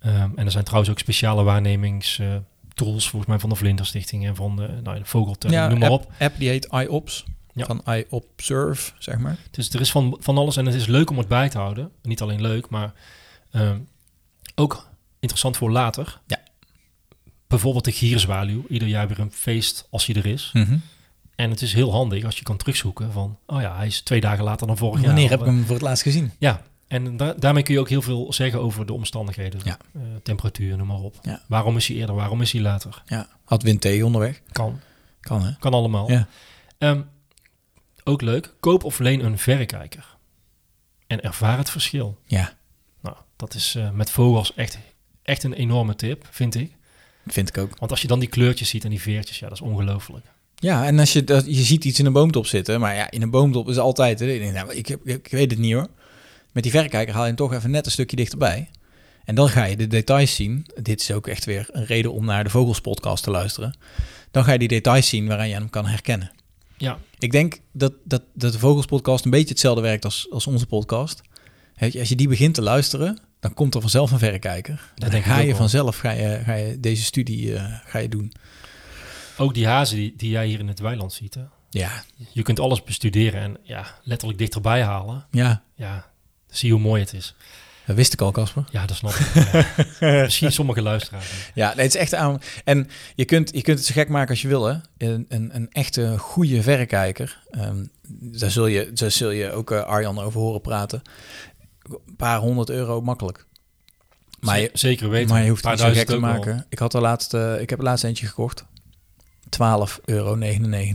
Ehm, en er zijn trouwens ook speciale waarnemingstools, tools volgens mij van de Vlinderstichting en van de, nou, de Vogeltelling, ja, noem maar app, op. app die heet iOps. Ja. Van iObserve, zeg maar. Dus er is van, van alles en het is leuk om het bij te houden. Niet alleen leuk, maar ehm, ook interessant voor later. Ja. Bijvoorbeeld de gierzwaluw. Ieder jaar weer een feest als hij er is. Mhm. En het is heel handig als je kan terugzoeken van... oh ja, hij is twee dagen later dan vorig jaar. Wanneer heb ik Of, hem voor het laatst gezien? Ja, en da- daarmee kun je ook heel veel zeggen over de omstandigheden. Ja. Eh, temperatuur, noem maar op. Ja. Waarom is hij eerder, waarom is hij later? Ja, had wind thee onderweg. Kan, Kan, hè? kan allemaal. Ja. Ehm, ook leuk, koop of leen een verrekijker. En ervaar het verschil. Ja, Nou, dat is eh, met vogels echt, echt een enorme tip, vind ik. vind ik ook. Want als je dan die kleurtjes ziet en die veertjes, ja, dat is ongelooflijk. Ja, en als je, dat, je ziet iets in een boomtop zitten. Maar ja, in een boomtop is altijd... Hè, ik, denk, nou, ik, heb- ik, ik weet het niet, hoor. Met die verrekijker haal je hem toch even net een stukje dichterbij. En dan ga je de details zien. Dit is ook echt weer een reden om naar de Vogelspodcast te luisteren. Dan ga je die details zien waaraan je hem kan herkennen. Ja, Ik denk dat, dat, dat de Vogelspodcast een beetje hetzelfde werkt als, als onze podcast. Hè, Als je die begint te luisteren, dan komt er vanzelf een verrekijker. Dat En dan denk ik ga ook je wel. vanzelf ga je, ga je deze studie eh, ga je doen. ook die hazen die, die jij hier in het weiland ziet. Hè? Ja, Je kunt alles bestuderen en ja, letterlijk dichterbij halen. ja Ja, zie hoe mooi het is. dat wist ik al, Casper. Ja, dat snap ik. Ja. Misschien sommige luisteraars. niet. Ja, nee, het is echt aan. En je kunt, je kunt het zo gek maken als je wil, hè? Een, een, een echte goede verrekijker. ehm, daar, zul je, daar zul je ook eh, Arjan over horen praten. Een paar honderd euro makkelijk. Maar je, Z- zeker weten. maar je hoeft Een het niet paar zo gek te duizend ook maken. Ik, had er laatst, eh, ik heb er laatst eentje gekocht. 12,99 euro. Nou.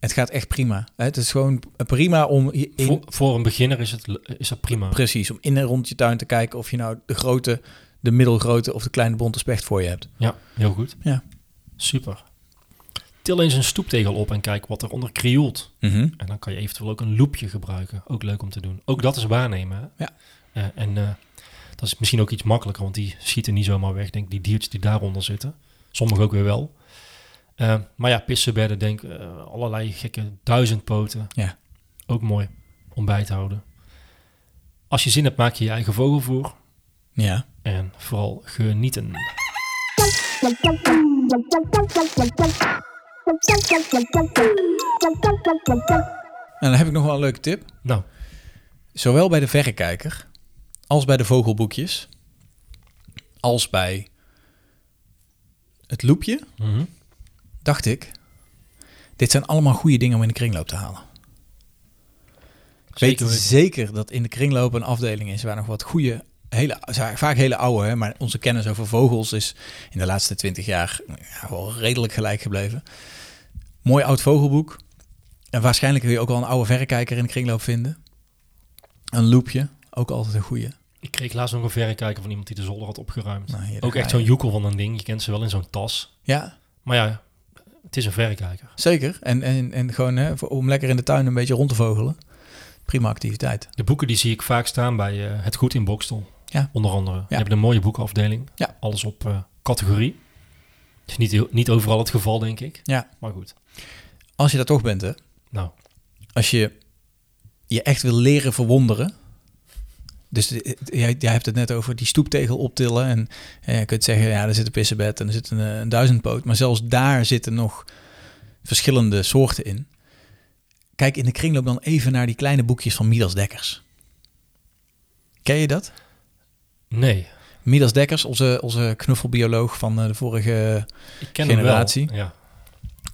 Het gaat echt prima. hè. Het is gewoon prima om... je wel. in- Voor, voor een beginner is, het, le- is dat prima. Precies, om in en rond je tuin te kijken of je nou de grote, de middelgrote of de kleine bonte specht voor je hebt. Ja, heel goed. Ja. Super. til eens een stoeptegel op en kijk wat eronder krioelt. Mhm. En dan kan je eventueel ook een loepje gebruiken. Ook leuk om te doen. Ook dat is waarnemen. hè? Ja. Eh, en eh, dat is misschien ook iets makkelijker, want die schieten niet zomaar weg. Ik Denk die diertjes die daaronder zitten. Sommige ook weer wel. Eh, maar ja, pissenbedden, denk eh, allerlei gekke duizendpoten. Ja. Ook mooi om bij te houden. Als je zin hebt, maak je je eigen vogelvoer. Ja. En vooral genieten. En dan heb ik nog wel een leuke tip. Nou, Zowel bij de verrekijker als bij de vogelboekjes, als bij het loepje, mhm. dacht ik, dit zijn allemaal goede dingen om in de kringloop te halen. Ik Zeker weet weten. zeker dat in de kringloop een afdeling is waar nog wat goede, hele, vaak hele oude, hè, maar onze kennis over vogels is in de laatste twintig jaar nou ja, wel redelijk gelijk gebleven. Mooi oud vogelboek. En waarschijnlijk kun je ook wel een oude verrekijker in de kringloop vinden. Een loepje, ook altijd een goede. ik kreeg laatst nog een verrekijker van iemand die de zolder had opgeruimd. Nou, hier, daar ook ga echt je. zo'n joekel van een ding. Je kent ze wel in zo'n tas. Ja, Maar ja, het is een verrekijker. zeker. En, en, en gewoon hè, voor- om lekker in de tuin een beetje rond te vogelen. Prima activiteit. De boeken die zie ik vaak staan bij eh, Het Goed in Bokstel. Ja. Onder andere. Die hebben een mooie boekenafdeling. Ja. Alles op eh, categorie. Het is niet, heel- niet overal het geval, denk ik. Ja. Maar goed. Als je daar toch bent, hè, Nou, als je je echt wil leren verwonderen. Dus de- jij, jij hebt het net over die stoeptegel optillen. En eh, je kunt zeggen, ja, er zit een pissenbed en er zit een, eh, een duizendpoot. Maar zelfs daar zitten nog verschillende soorten in. Kijk in de kringloop dan even naar die kleine boekjes van Midas Dekkers. Ken je dat? nee. Midas Dekkers, onze, onze knuffelbioloog van eh, de vorige... Ik ken hem wel. Generatie. Ja.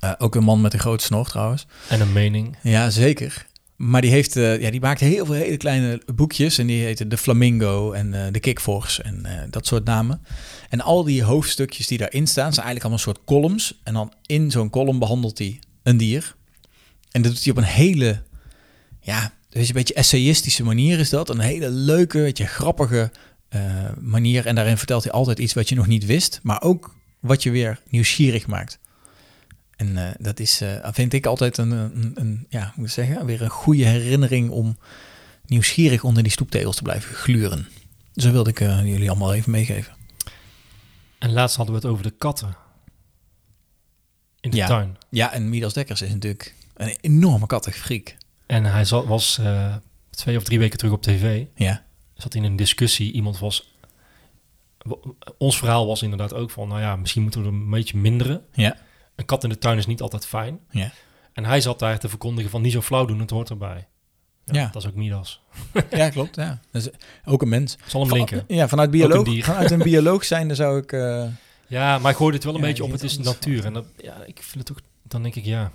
eh, ook een man met een groot snor trouwens. En een mening. Ja, zeker. Maar die, heeft, eh, ja, die maakt heel veel hele kleine boekjes. En die heten De Flamingo en eh, De Kikvors en eh, dat soort namen. En al die hoofdstukjes die daarin staan, zijn eigenlijk allemaal een soort columns. En dan in zo'n column behandelt hij een dier. En dat doet hij op een hele, ja, dus een beetje essayistische manier is dat. Een hele leuke, weet je, grappige eh, manier. En daarin vertelt hij altijd iets wat je nog niet wist. Maar ook wat je weer nieuwsgierig maakt. En eh, dat is, eh, vind ik altijd een, een, een ja, hoe moet ik zeggen, weer een goede herinnering om nieuwsgierig onder die stoeptegels te blijven gluren. Dus dat wilde ik eh, jullie allemaal even meegeven. En laatst hadden we het over de katten. In de Ja. tuin. Ja, en Midas Dekkers is natuurlijk een enorme kattig freak. En hij zal- was eh, twee of drie weken terug op tv. Ja, Zat in een discussie. Iemand was... w- Ons verhaal was inderdaad ook van... Nou ja, misschien moeten we er een beetje minderen. ja, Een kat in de tuin is niet altijd fijn. ja. En hij zat daar te verkondigen van niet zo flauw doen, het hoort erbij. Ja, Ja. Dat is ook Midas. Ja, klopt. Ja. Dat is ook een mens. Zal hem linken. ja, vanuit, Ook bioloog, een dier. vanuit een bioloog zijnde zou ik... eh, Ja, maar ik gooi het wel een Ja, beetje je op, het vindt is alles natuur. En dat, ja, ik vind het ook, dan denk ik ja.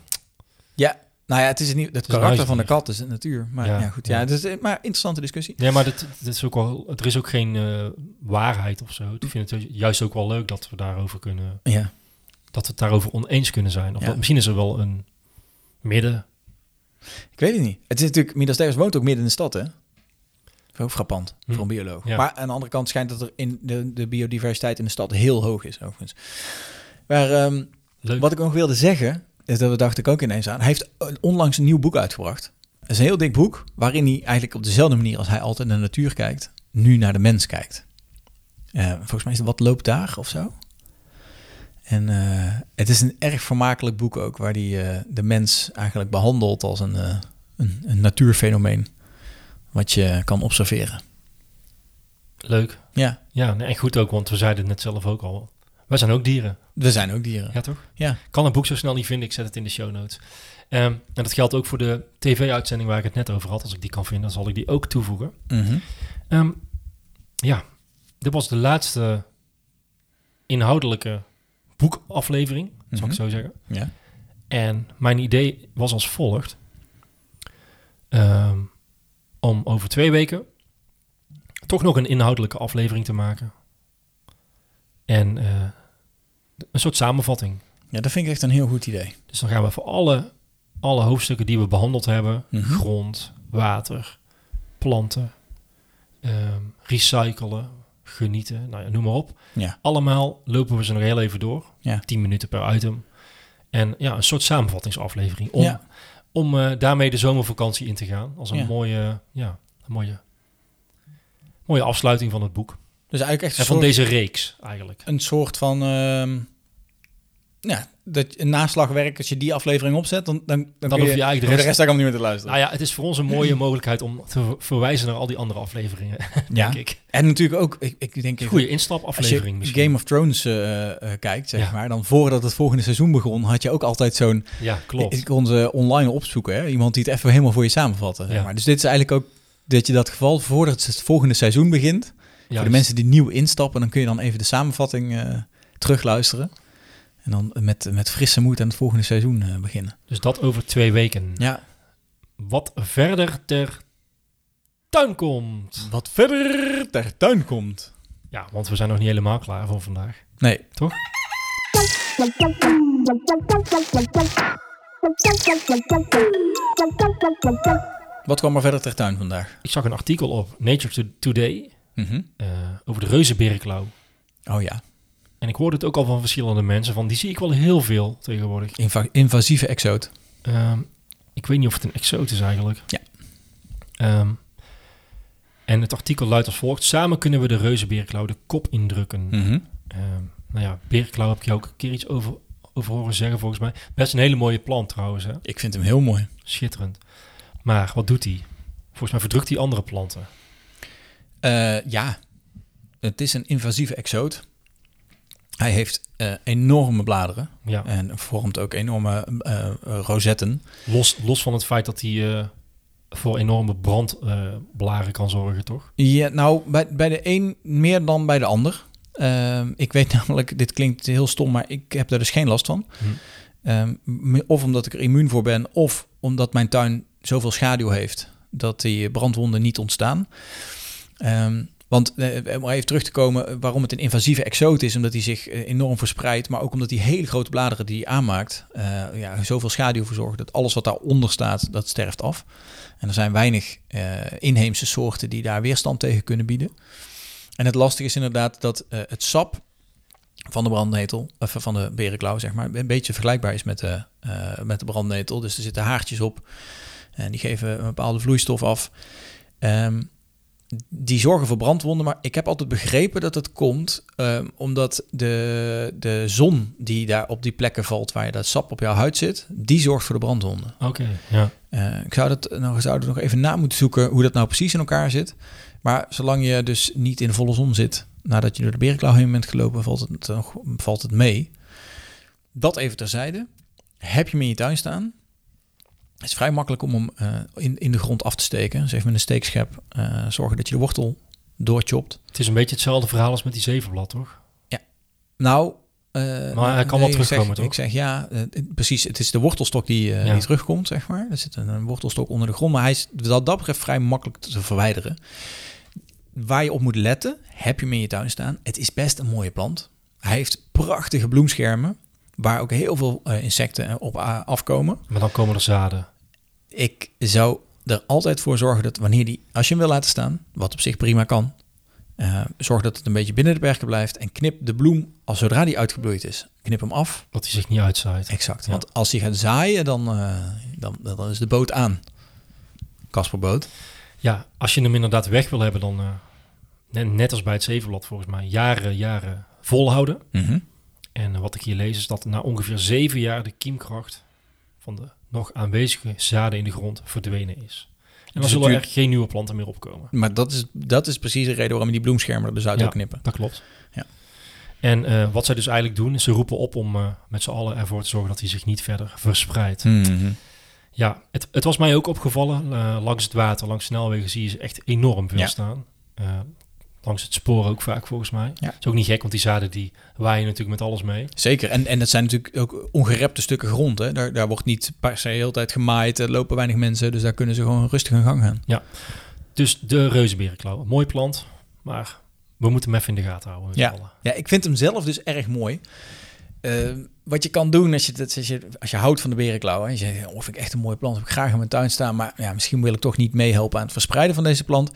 ja, nou ja, het is niet het, een karakter van de huisdier. kat, is het natuur. Maar ja, Ja, goed. Ja, ja. dus, eh, maar interessante discussie. Nee, maar dat, dat is ook wel, er is ook geen eh, waarheid of zo. Ik vind het juist ook wel leuk dat we daarover kunnen, Ja, dat we het daarover oneens kunnen zijn. Of Ja. dat- misschien is er wel een midden. Ik weet het niet. Het is natuurlijk, Midas Davis woont ook midden in de stad, hè? Dat is ook frappant Hm. voor een bioloog. Ja. Maar aan de andere kant schijnt dat er in de, de biodiversiteit in de stad heel hoog is, overigens. Maar ehm, Leuk. wat ik nog wilde zeggen, is dat we dacht ik ook ineens aan. Hij heeft een- onlangs een nieuw boek uitgebracht. Het is een heel dik boek, waarin hij eigenlijk op dezelfde manier als hij altijd naar de natuur kijkt, nu naar de mens kijkt. Eh, volgens mij is het Wat loopt daar of zo. En eh, het is een erg vermakelijk boek ook, waar hij eh, de mens eigenlijk behandelt als een, eh, een, een natuurfenomeen. Wat je kan observeren. Leuk. Ja, Ja, nee, en goed ook, want we zeiden het net zelf ook al. Wij zijn ook dieren. we zijn ook dieren. Ja, toch? Ja. Kan het boek zo snel niet vinden, ik zet het in de show notes. Ehm, en dat geldt ook voor de tv-uitzending waar ik het net over had. Als ik die kan vinden, dan zal ik die ook toevoegen. Mhm. Ehm, ja, dit was de laatste inhoudelijke boekaflevering, zal Mhm. ik zo zeggen. ja. En mijn idee was als volgt. Ehm, om over twee weken toch nog een inhoudelijke aflevering te maken. En eh, een soort samenvatting. ja, dat vind ik echt een heel goed idee. Dus dan gaan we voor alle, alle hoofdstukken die we behandeld hebben: Mhm. grond, water, planten, ehm, recyclen, genieten, nou ja, noem maar op. Ja. Allemaal lopen we ze nog heel even door. Ja. 10 minuten per item. En ja, een soort samenvattingsaflevering om, Ja. om eh, daarmee de zomervakantie in te gaan. Als een Ja. mooie, ja, een mooie, mooie afsluiting van het boek. Dus eigenlijk echt En een, van soort, deze reeks eigenlijk. een soort van... ehm, ja, dat je- een naslagwerk, als je die aflevering opzet, dan, dan, dan, kun hoef je eigenlijk de dan hoef rest- eigenlijk allemaal niet meer te luisteren. Nou ja, het is voor ons een mooie mogelijkheid om te ver- verwijzen naar al die andere afleveringen, Ja. Ah, denk ik. En natuurlijk ook, ik, ik denk... even- Goede Als je instapaflevering misschien. Game of Thrones eh, eh, kijkt, zeg Ja. maar, dan voordat het volgende seizoen begon, had je ook altijd zo'n... Ja, klopt. Ik kon ze online opzoeken, hè? iemand die het even helemaal voor je samenvatte. zeg Ja. maar. Dus dit is eigenlijk ook dat je dat geval, voordat het volgende seizoen begint, Ja, voor de mensen die nieuw instappen, dan kun je dan even de samenvatting eh, terugluisteren. En dan met, met frisse moed aan het volgende seizoen eh, beginnen. Dus dat over twee weken. Ja. Wat verder ter tuin komt. Wat verder ter tuin komt. Ja, want we zijn nog niet helemaal klaar voor vandaag. Nee, wat kwam er verder ter tuin vandaag? Ik zag een artikel op Nature To- Today Mhm. eh, over de reuzenberenklauw. Oh ja, En ik hoorde het ook al van verschillende mensen, van die zie ik wel heel veel tegenwoordig. Inva- invasieve exoot. Ehm, ik weet niet of het een exoot is eigenlijk. Ja. Ehm, en het artikel luidt als volgt. Samen kunnen we de reuzenberenklauw de kop indrukken. Mhm. Ehm, nou ja, berenklauw heb je ook een keer iets over, over horen zeggen volgens mij. Best een hele mooie plant trouwens. Hè? Ik vind hem heel mooi. Schitterend. Maar wat doet hij? Volgens mij verdrukt hij andere planten. Eh, ja, het is een invasieve exoot. Hij heeft eh, enorme bladeren Ja. en vormt ook enorme eh, rosetten. Los, los van het feit dat hij eh, voor enorme brandblaren kan zorgen, toch? Ja, nou, bij, bij de een meer dan bij de ander. Ehm, ik weet namelijk, dit klinkt heel stom, maar ik heb daar dus geen last van. Hm. Ehm, m- of omdat ik er immuun voor ben, of omdat mijn tuin zoveel schaduw heeft dat die brandwonden niet ontstaan. Ehm, want eh, om even terug te komen waarom het een invasieve exoot is, omdat hij zich eh, enorm verspreidt, maar ook omdat die hele grote bladeren die hij aanmaakt, eh, ja, zoveel schaduw verzorgen dat alles wat daaronder staat, dat sterft af. En er zijn weinig eh, inheemse soorten die daar weerstand tegen kunnen bieden. En het lastige is inderdaad dat eh, het sap van de brandnetel, of van de berenklauw zeg maar, een beetje vergelijkbaar is met de, eh, met de brandnetel. Dus er zitten haartjes op en die geven een bepaalde vloeistof af. Ehm, die zorgen voor brandwonden, maar ik heb altijd begrepen dat het komt ehm, omdat de, de zon die daar op die plekken valt waar je dat sap op jouw huid zit, die zorgt voor de brandwonden. Oké, ja. Eh, ik zou dat nog, zouden nog even na moeten zoeken hoe dat nou precies in elkaar zit. Maar zolang je dus niet in de volle zon zit, nadat je door de berenklauw heen bent gelopen, valt het, nog- valt het mee. Dat even terzijde. Heb je hem in je tuin staan? Het is vrij makkelijk om hem eh, in, in de grond af te steken. Dus even met een steekschep eh, zorgen dat je de wortel doorchopt. Het is een beetje hetzelfde verhaal als met die zevenblad, toch? Nou, eh, Maar hij kan wel ik terugkomen, zeg, toch? Ik zeg ja, eh, het- precies. Het is de wortelstok die, eh, Ja. die terugkomt, zeg maar. Er zit een, een wortelstok onder de grond, maar hij is dat, dat betreft vrij makkelijk te verwijderen. Waar je op moet letten, heb je hem in je tuin staan. Het is best een mooie plant. Hij heeft prachtige bloemschermen, waar ook heel veel eh, insecten eh, op a- afkomen. Maar dan komen er zaden. Ik zou er altijd voor zorgen dat wanneer die, als je hem wil laten staan, wat op zich prima kan, eh, zorg dat het een beetje binnen de perken blijft en knip de bloem als zodra die uitgebloeid is. Knip hem af. Dat hij zich niet uitzaait. Exact. Ja. Want als die gaat zaaien, dan, eh, dan, dan is de boot aan. Kasperboot. Ja, als je hem inderdaad weg wil hebben, dan eh, net, net als bij het zevenblad volgens mij, jaren, jaren volhouden. Mhm. En eh, wat ik hier lees is dat na ongeveer zeven jaar de kiemkracht van de nog aanwezige zaden in de grond verdwenen is. En dan Dus zullen er natuurlijk- geen nieuwe planten meer opkomen. Maar dat is, dat is precies de reden waarom je die bloemschermen er dus uit Ja. wil knippen. Dat klopt. Ja. En eh, wat zij dus eigenlijk doen, is ze roepen op om eh, met z'n allen ervoor te zorgen dat hij zich niet verder Hm. verspreidt. Ja, het, het was mij ook opgevallen. eh, langs het water, langs snelwegen zie je ze echt enorm veel Ja. staan. Eh, langs het spoor ook vaak volgens mij. Ja. is ook niet gek, want die zaden die waaien natuurlijk met alles mee. Zeker. En, en dat zijn natuurlijk ook ongerepte stukken grond. Hè? Daar, daar wordt niet per se heel de tijd gemaaid. Er lopen weinig mensen. Dus daar kunnen ze gewoon rustig hun gang gaan. Dus de reuzenberenklauw. Mooi plant, maar we moeten hem even in de gaten houden. met z'n allen. Ja, ik vind hem zelf dus erg mooi. Eh, wat je kan doen als je, dat- als je, als je houdt van de berenklauw... en je zegt, oh, vind ik echt een mooie plant, heb ik graag in mijn tuin staan... maar ja, misschien wil ik toch niet meehelpen aan het verspreiden van deze plant.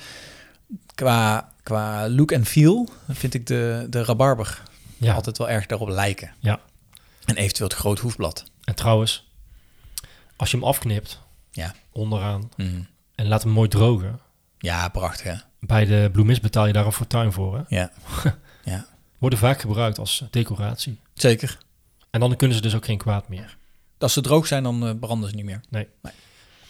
Qua, qua look en feel vind ik de, de rabarber Ja, altijd wel erg daarop lijken. Ja. En eventueel het groot hoefblad. En trouwens, als je hem afknipt, Ja. onderaan, Mhm. en laat hem mooi drogen. Ja, prachtig hè? Bij de bloemist betaal je daar een fortuin voor. Hè? Ja. Worden vaak gebruikt als decoratie. Zeker. En dan kunnen ze dus ook geen kwaad meer. Als ze droog zijn, dan eh, branden ze niet meer.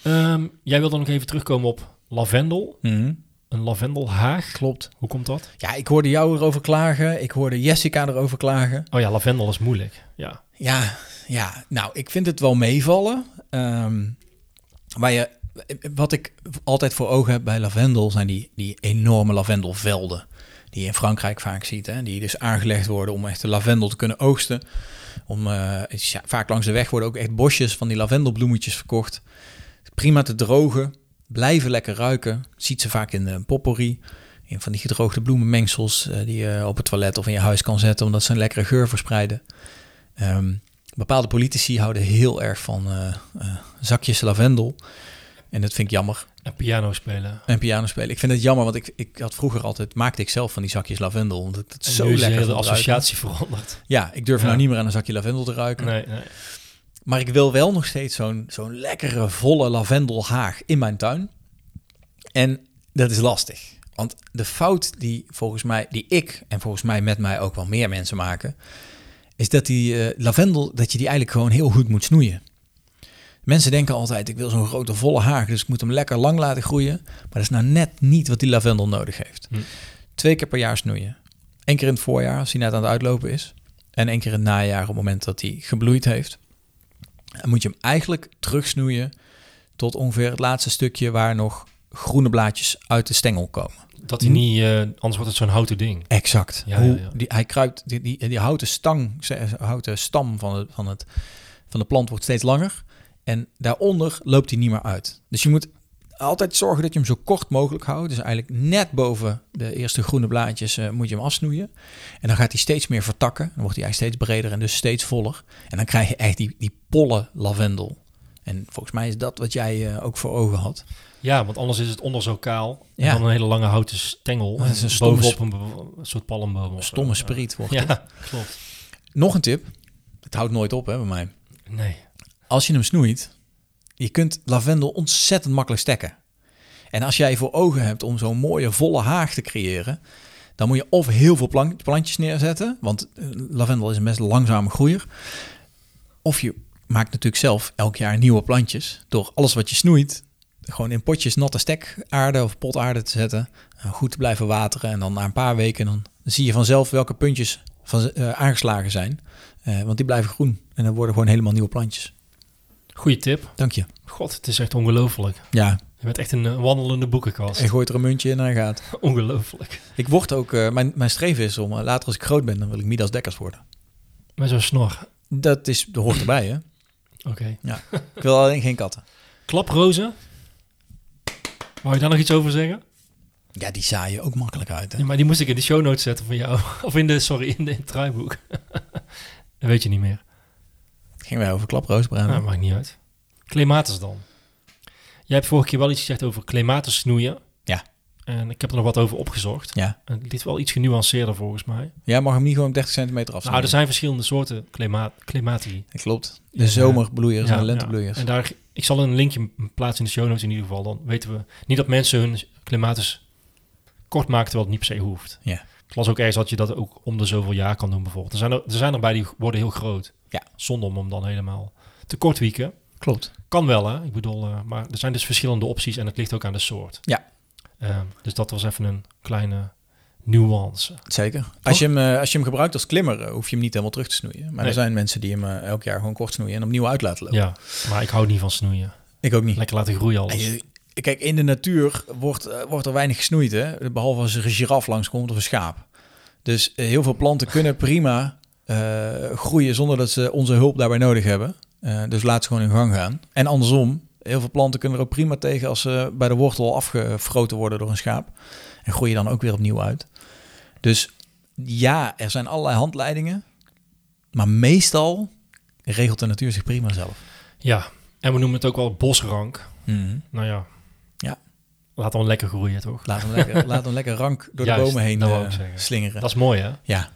Ehm, jij wil dan nog even terugkomen op lavendel. Mhm. Een lavendelhaag. Klopt. Hoe komt dat? Ja, ik hoorde jou erover klagen. Ik hoorde Jessica erover klagen. Oh ja, lavendel is moeilijk. Ja. Ja, ja. nou, ik vind het wel meevallen. Ehm, waar je, wat ik altijd voor ogen heb bij lavendel zijn die, die enorme lavendelvelden. Die je in Frankrijk vaak ziet. Hè? Die dus aangelegd worden om echt de lavendel te kunnen oogsten. Om, eh, het is ja, vaak langs de weg worden ook echt bosjes van die lavendelbloemetjes verkocht. Prima te drogen. Blijven lekker ruiken. Ziet ze vaak in de potpourri. In van die gedroogde bloemenmengsels eh, die je op het toilet of in je huis kan zetten. Omdat ze een lekkere geur verspreiden. Ehm, bepaalde politici houden heel erg van eh, eh, zakjes lavendel. En dat vind ik jammer. En piano spelen. En piano spelen. Ik vind het jammer, want ik, ik had vroeger altijd... maakte ik zelf van die zakjes lavendel. Omdat ik het En zo nu is lekker de hele vond ruiken. associatie veranderd. Ja, ik durf Ja. nou niet meer aan een zakje lavendel te ruiken. Nee, nee. Maar ik wil wel nog steeds zo'n zo'n lekkere, volle lavendelhaag in mijn tuin. En dat is lastig. Want de fout die volgens mij, die ik en volgens mij met mij ook wel meer mensen maken, is dat die eh, lavendel, dat je die eigenlijk gewoon heel goed moet snoeien. Mensen denken altijd, ik wil zo'n grote volle haag, dus ik moet hem lekker lang laten groeien. Maar dat is nou net niet wat die lavendel nodig heeft. Hm. Twee keer per jaar snoeien. Eén keer in het voorjaar, als hij net aan het uitlopen is. En één keer in het najaar, op het moment dat hij gebloeid heeft. En moet je hem eigenlijk terugsnoeien tot ongeveer het laatste stukje waar nog groene blaadjes uit de stengel komen. Dat hij niet, eh, anders wordt het zo'n houten ding. Exact. Ja, Hoe ja, ja. Die, hij kruipt, die, die, die houten stang, ze- houten stam van, het, van, het, van de plant wordt steeds langer. En daaronder loopt hij niet meer uit. Dus je moet altijd zorgen dat je hem zo kort mogelijk houdt. Dus eigenlijk net boven de eerste groene blaadjes eh, moet je hem afsnoeien. En dan gaat hij steeds meer vertakken. Dan wordt hij eigenlijk steeds breder en dus steeds voller. En dan krijg je echt die, die pollen lavendel. En volgens mij is dat wat jij eh, ook voor ogen had. Ja, want anders is het onder zo kaal. En Ja. dan een hele lange houten stengel. Dat is een en stomme bovenop een, be- een soort palmboom. of zo. Stomme spriet wordt het. Ja, klopt. Nog een tip. Het houdt nooit op hè, bij mij. Nee. als je hem snoeit, je kunt lavendel ontzettend makkelijk stekken. En als jij voor ogen hebt om zo'n mooie volle haag te creëren, dan moet je of heel veel plank- plantjes neerzetten, want eh, lavendel is een best langzame groeier. Of je maakt natuurlijk zelf elk jaar nieuwe plantjes door alles wat je snoeit gewoon in potjes natte stekaarde of potaarde te zetten, eh, goed te blijven wateren en dan na een paar weken dan zie je vanzelf welke puntjes van, eh, aangeslagen zijn, Eh, want die blijven groen en dan worden gewoon helemaal nieuwe plantjes. Goeie tip. Dank je. God, het is echt ongelooflijk. Ja, Je bent echt een eh, wandelende boekenkast. en gooit er een muntje in en hij gaat. Ongelooflijk. Ik word ook, eh, mijn, mijn streven is om eh, later als ik groot ben, dan wil ik Midas Dekkers worden. Met zo'n snor. Dat is, dat hoort erbij, hè? Oké. Ik wil alleen geen katten. Klaprozen. Wou je daar nog iets over zeggen? Ja, die zaaien ook makkelijk uit, hè? Ja, maar die moest ik in de show notes zetten van jou. Of in de, sorry, in de in het draaiboek. dat weet je niet meer. Gingen wij over klaproos Nou, maakt niet uit. Clematis dan. Jij hebt vorige keer wel iets gezegd over clematis snoeien. Ja. En ik heb er nog wat over opgezocht. Ja. En dit is wel iets genuanceerder volgens mij. Jij mag hem niet gewoon op 30 centimeter afsnijden. Nou, er zijn verschillende soorten klema clemati. Dat klopt. De Ja. zomerbloeiers Ja, en de ja. lentebloeiers. En daar, ik zal een linkje plaatsen in de show notes in ieder geval. Dan weten we niet dat mensen hun klimatis kort maken terwijl het niet per se hoeft. Ja. Ik las ook ergens dat je dat ook om de zoveel jaar kan doen bijvoorbeeld. Er zijn er, er, zijn er bij die worden heel groot. Ja. Zonder om hem dan helemaal te kort wieken. Klopt. Kan wel hè, ik bedoel, eh, maar er zijn dus verschillende opties en het ligt ook aan de soort. Ja. Ehm, dus dat was even een kleine nuance. Zeker. Als je, hem, eh, als je hem gebruikt als klimmer, eh, hoef je hem niet helemaal terug te snoeien. Maar Nee. er zijn mensen die hem eh, elk jaar gewoon kort snoeien en opnieuw uit laten lopen. Ja, maar ik hou niet van snoeien. Ik ook niet. Lekker laten groeien alles. En je- eh, Kijk, in de natuur wordt, eh, wordt er weinig gesnoeid, hè? behalve als er een giraf langskomt of een schaap. Dus eh, heel veel planten kunnen prima eh, groeien zonder dat ze onze hulp daarbij nodig hebben. Eh, dus laat ze gewoon in gang gaan. En andersom, heel veel planten kunnen er ook prima tegen als ze bij de wortel afgefroten worden door een schaap. En groeien dan ook weer opnieuw uit. Dus ja, er zijn allerlei handleidingen. Maar meestal regelt de natuur zich prima zelf. Ja, en we noemen het ook wel bosrank. Nou ja. Ja. Laat dan lekker groeien, toch? Laat hem lekker, laat hem lekker rank door Juist, de bomen heen dat wou eh, ik zeggen. slingeren. Dat is mooi, hè? Ja,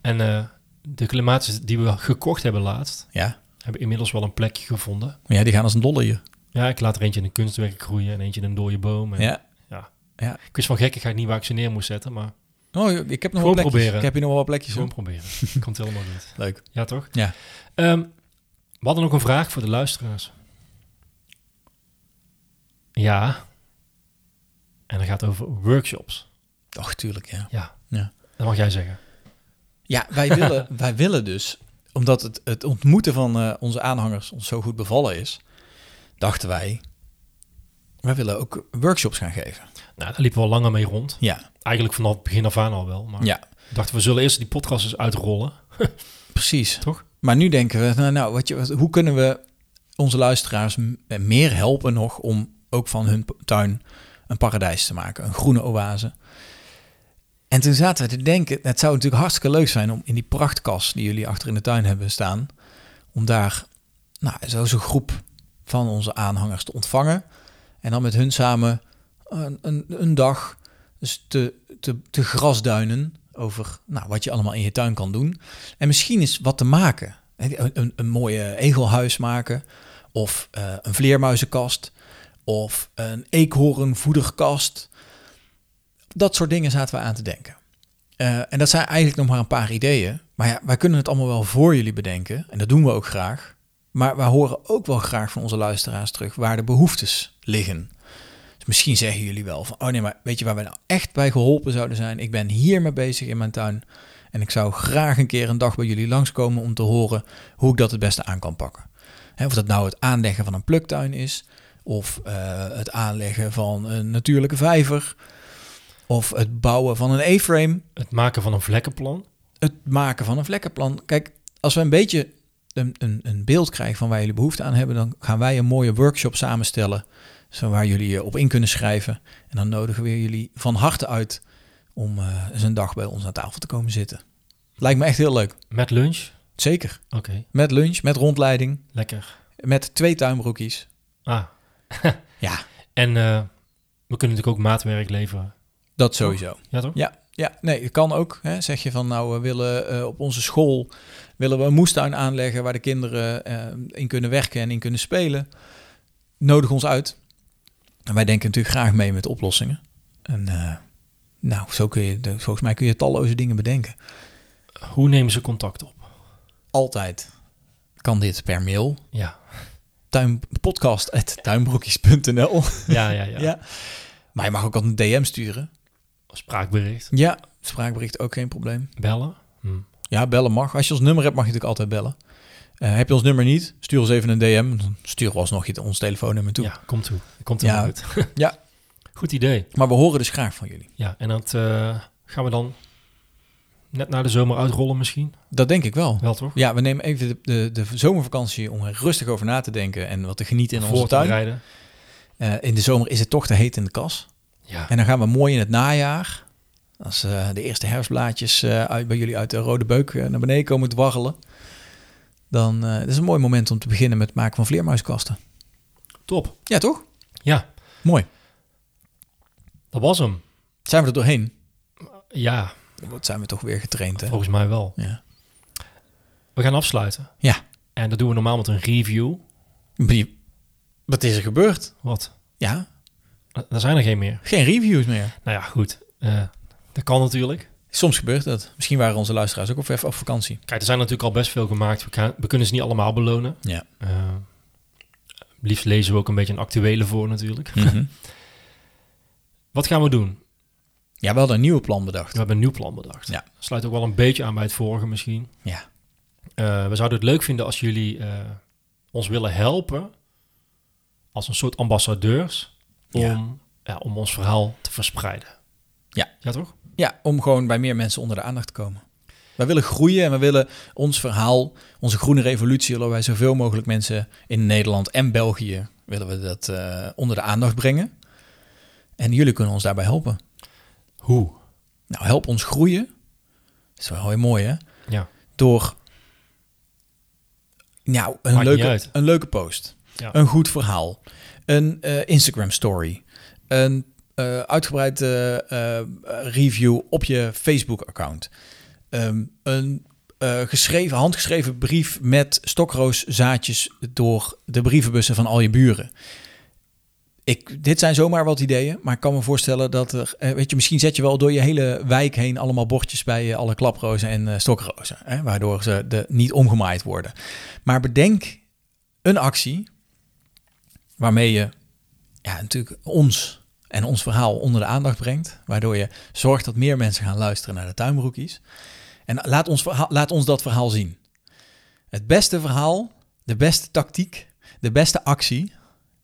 En eh, de clematis die we gekocht hebben laatst, ja. Hebben inmiddels wel een plekje gevonden. Ja, die gaan als een dolle hier. Ja, ik laat er eentje in een kunstwerk groeien en eentje in een dode boom. En Ja. Ik wist van gekkigheid niet waar ik ze neer moest zetten, maar Oh, ik heb Gewoon nog wel plekjes. proberen. Ik heb hier nog wel wat plekjes gewoon op. proberen. Komt helemaal niet. Leuk. Ja, toch? Ja. Ehm, we hadden ook een vraag voor de luisteraars. Ja. En dat gaat over workshops. Och, tuurlijk, ja. Ja. Ja. Dat mag jij zeggen. Ja, wij willen, wij willen dus, omdat het, het ontmoeten van eh, onze aanhangers ons zo goed bevallen is, dachten wij, wij willen ook workshops gaan geven. Nou, daar liepen we al langer mee rond. Ja, Eigenlijk vanaf het begin af aan al wel. Maar ja, we dachten, we zullen eerst die podcast eens uitrollen. precies. Toch? Maar nu denken we, nou, nou wat je, wat- hoe kunnen we onze luisteraars m- eh, meer helpen nog om ook van hun p- tuin een paradijs te maken, een groene oase. En toen zaten we te denken, het zou natuurlijk hartstikke leuk zijn om in die prachtkas die jullie achter in de tuin hebben staan, om daar nou, zo zo'n groep van onze aanhangers te ontvangen. En dan met hun samen een, een, een dag dus te, te, te grasduinen over nou, wat je allemaal in je tuin kan doen. En misschien is wat te maken. Hè, Een, een, een mooie egelhuis maken. Of eh, een vleermuizenkast. Of een eekhoornvoederkast. Dat soort dingen zaten we aan te denken. Eh, en dat zijn eigenlijk nog maar een paar ideeën. Maar ja, wij kunnen het allemaal wel voor jullie bedenken. En dat doen we ook graag. Maar wij horen ook wel graag van onze luisteraars terug waar de behoeftes liggen. Dus misschien zeggen jullie wel van, oh nee, maar weet je waar wij nou echt bij geholpen zouden zijn? Ik ben hiermee bezig in mijn tuin. En ik zou graag een keer een dag bij jullie langskomen om te horen hoe ik dat het beste aan kan pakken. Hè, of dat nou het aanleggen van een pluktuin is, of eh, het aanleggen van een natuurlijke vijver, of het bouwen van een A-frame, Het maken van een vlekkenplan. het maken van een vlekkenplan. Kijk, als we een beetje een, een, een beeld krijgen van waar jullie behoefte aan hebben, dan gaan wij een mooie workshop samenstellen. Zo waar jullie je op in kunnen schrijven. En dan nodigen we jullie van harte uit om eh, eens een dag bij ons aan tafel te komen zitten. Lijkt me echt heel leuk. Met lunch. Zeker. Oké, Met lunch, met rondleiding, lekker. met twee tuinbroekies. Ah, Ja, en eh, we kunnen natuurlijk ook maatwerk leveren. dat sowieso. Ja, toch? Ja, ja nee, het kan ook. Hè. Zeg je van nou, we willen eh, op onze school willen we een moestuin aanleggen waar de kinderen eh, in kunnen werken en in kunnen spelen. Nodig ons uit. En wij denken natuurlijk graag mee met oplossingen. En eh, nou, zo kun je, de- volgens mij kun je talloze dingen bedenken. Hoe nemen ze contact op? Altijd kan dit per mail. Ja, Tuin, podcast.tuinbroekjes.nl ja, ja. ja. ja. Maar je mag ook altijd een DM sturen. Spraakbericht. Ja, spraakbericht ook geen probleem. Bellen. Hm. Ja, bellen mag. Als je ons nummer hebt, mag je natuurlijk altijd bellen. Eh, heb je ons nummer niet, stuur ons even een DM. Dan sturen we alsnog je ons telefoonnummer toe. Ja, komt toe. Komt er Ja. uit. Ja. Goed idee. Maar we horen dus graag van jullie. Ja, en dat eh, gaan we dan net na de zomer uitrollen misschien. Dat denk ik wel. Wel toch? Ja, we nemen even de, de, de zomervakantie om er rustig over na te denken en wat te genieten in onze Voor te tuin. rijden. Eh, in de zomer is het toch te heet in de kas. Ja. En dan gaan we mooi in het najaar, als eh, de eerste herfstblaadjes eh, uit, bij jullie uit de rode beuk eh, naar beneden komen dwarrelen, dan eh, het is een mooi moment om te beginnen met het maken van vleermuiskasten. Top. Ja, toch? Ja, Mooi. dat was hem. Zijn we er doorheen? Ja, Wat zijn we toch weer getraind, hè? volgens mij wel. Ja. We gaan afsluiten. Ja. En dat doen we normaal met een review. Wie- Wat is er gebeurd? Wat? Ja, Eh, Er zijn er geen meer. geen reviews meer. Nou ja, goed. Eh, dat kan natuurlijk. Soms gebeurt dat. Misschien waren onze luisteraars ook op, even op vakantie. Kijk, er zijn natuurlijk al best veel gemaakt. We, kan- we kunnen ze niet allemaal belonen. Ja. Eh, liefst lezen we ook een beetje een actuele voor natuurlijk. Mhm. Wat gaan we doen? Ja, we hadden een nieuw plan bedacht. We hebben een nieuw plan bedacht. Ja. Sluit ook wel een beetje aan bij het vorige misschien. Ja. Eh, we zouden het leuk vinden als jullie eh, ons willen helpen als een soort ambassadeurs om, Ja. ja. om ons verhaal te verspreiden. Ja. Ja toch? Ja, om gewoon bij meer mensen onder de aandacht te komen. Wij willen groeien en we willen ons verhaal, onze groene revolutie, willen wij zoveel mogelijk mensen in Nederland en België, willen we dat eh, onder de aandacht brengen. En jullie kunnen ons daarbij helpen. Hoe? Nou, help ons groeien. Dat is wel heel mooi, hè? Ja. door nou, een, Maakt niet leuke, uit. een leuke post, Ja. een goed verhaal, een eh, Instagram story, een eh uitgebreid eh, eh, review op je Facebook account, een, eh, geschreven, handgeschreven brief met stokrooszaadjes door de brievenbussen van al je buren. Ik, dit zijn zomaar wat ideeën, maar ik kan me voorstellen dat er, eh, weet je, misschien zet je wel door je hele wijk heen allemaal bordjes bij eh, alle klaprozen en eh, stokrozen, hè, waardoor ze de, niet omgemaaid worden. Maar bedenk een actie waarmee je ja, natuurlijk ons en ons verhaal onder de aandacht brengt. Waardoor je zorgt dat meer mensen gaan luisteren naar de tuinbroekies. En laat ons, verhaal, laat ons dat verhaal zien. Het beste verhaal, de beste tactiek, de beste actie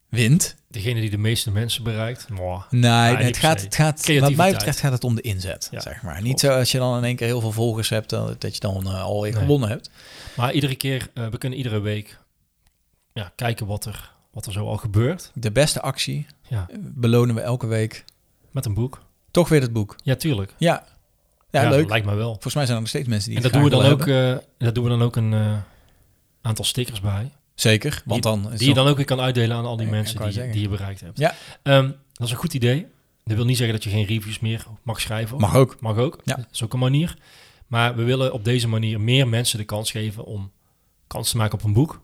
wint. Degene die de meeste mensen bereikt. Mwah. Nee, Ah, niet het per gaat, se. het gaat, wat mij Creativiteit. betreft gaat het om de inzet, Ja, zeg maar. Niet zo als je dan in één keer heel veel volgers hebt, dan- dat je dan eh, alweer Nee. gewonnen hebt. Maar iedere keer, eh, we kunnen iedere week ja, kijken wat er, wat er zo al gebeurt. De beste actie eh, Ja, belonen we elke week. met een boek. Toch weer het boek. Ja, tuurlijk. Ja, ja, dat leuk. Lijkt mij wel. Volgens mij zijn er nog steeds mensen die En dat het doen, we graag dan willen ook, hebben. eh, dat doen we dan ook een eh, aantal stickers bij. Zeker, want dan... is eh, Die je dan- dan ook weer kan uitdelen aan al die Ja, mensen ik wou die, je- zeggen. die je bereikt hebt. Ja. Ehm, dat is een goed idee. Dat wil niet zeggen dat je geen reviews meer mag schrijven. Mag ook. Mag ook. Ja. Dat is ook een manier. Maar we willen op deze manier meer mensen de kans geven om kans te maken op een boek.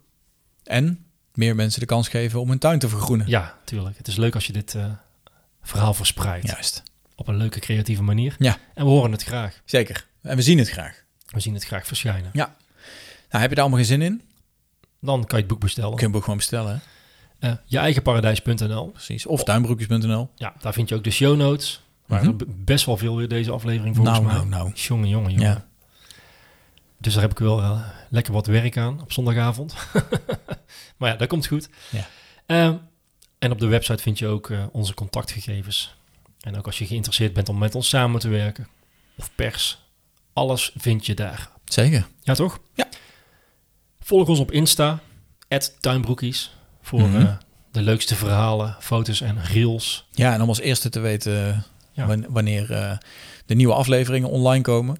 En meer mensen de kans geven om hun tuin te vergroenen. Ja, tuurlijk. Het is leuk als je dit eh, verhaal verspreidt. Juist. Op een leuke, creatieve manier. Ja. En we horen het graag. Zeker. En we zien het graag. We zien het graag verschijnen. Nou, heb je daar allemaal geen zin in? Kun Dan kan je het boek bestellen. je een boek gewoon bestellen. hè? Eh, je eigenparadijs.nl. Precies. Oh. Of tuinbroekjes.nl. Ja, daar vind je ook de show notes. Maar Mhm. best wel veel weer deze aflevering volgens Nou, mij. nou, nou. Jongen, jongen, jongen. Ja. Dus daar heb ik wel eh, lekker wat werk aan op zondagavond. maar ja, dat komt goed. Ja. Ehm, en op de website vind je ook eh, onze contactgegevens. En ook als je geïnteresseerd bent om met ons samen te werken, of pers, alles vind je daar. Zeker. Ja, toch? Ja. Volg ons op Insta, tuinbroekies, voor Mhm. eh, de leukste verhalen, foto's en reels. Ja, en om als eerste te weten Ja. wan- wanneer eh, de nieuwe afleveringen online komen.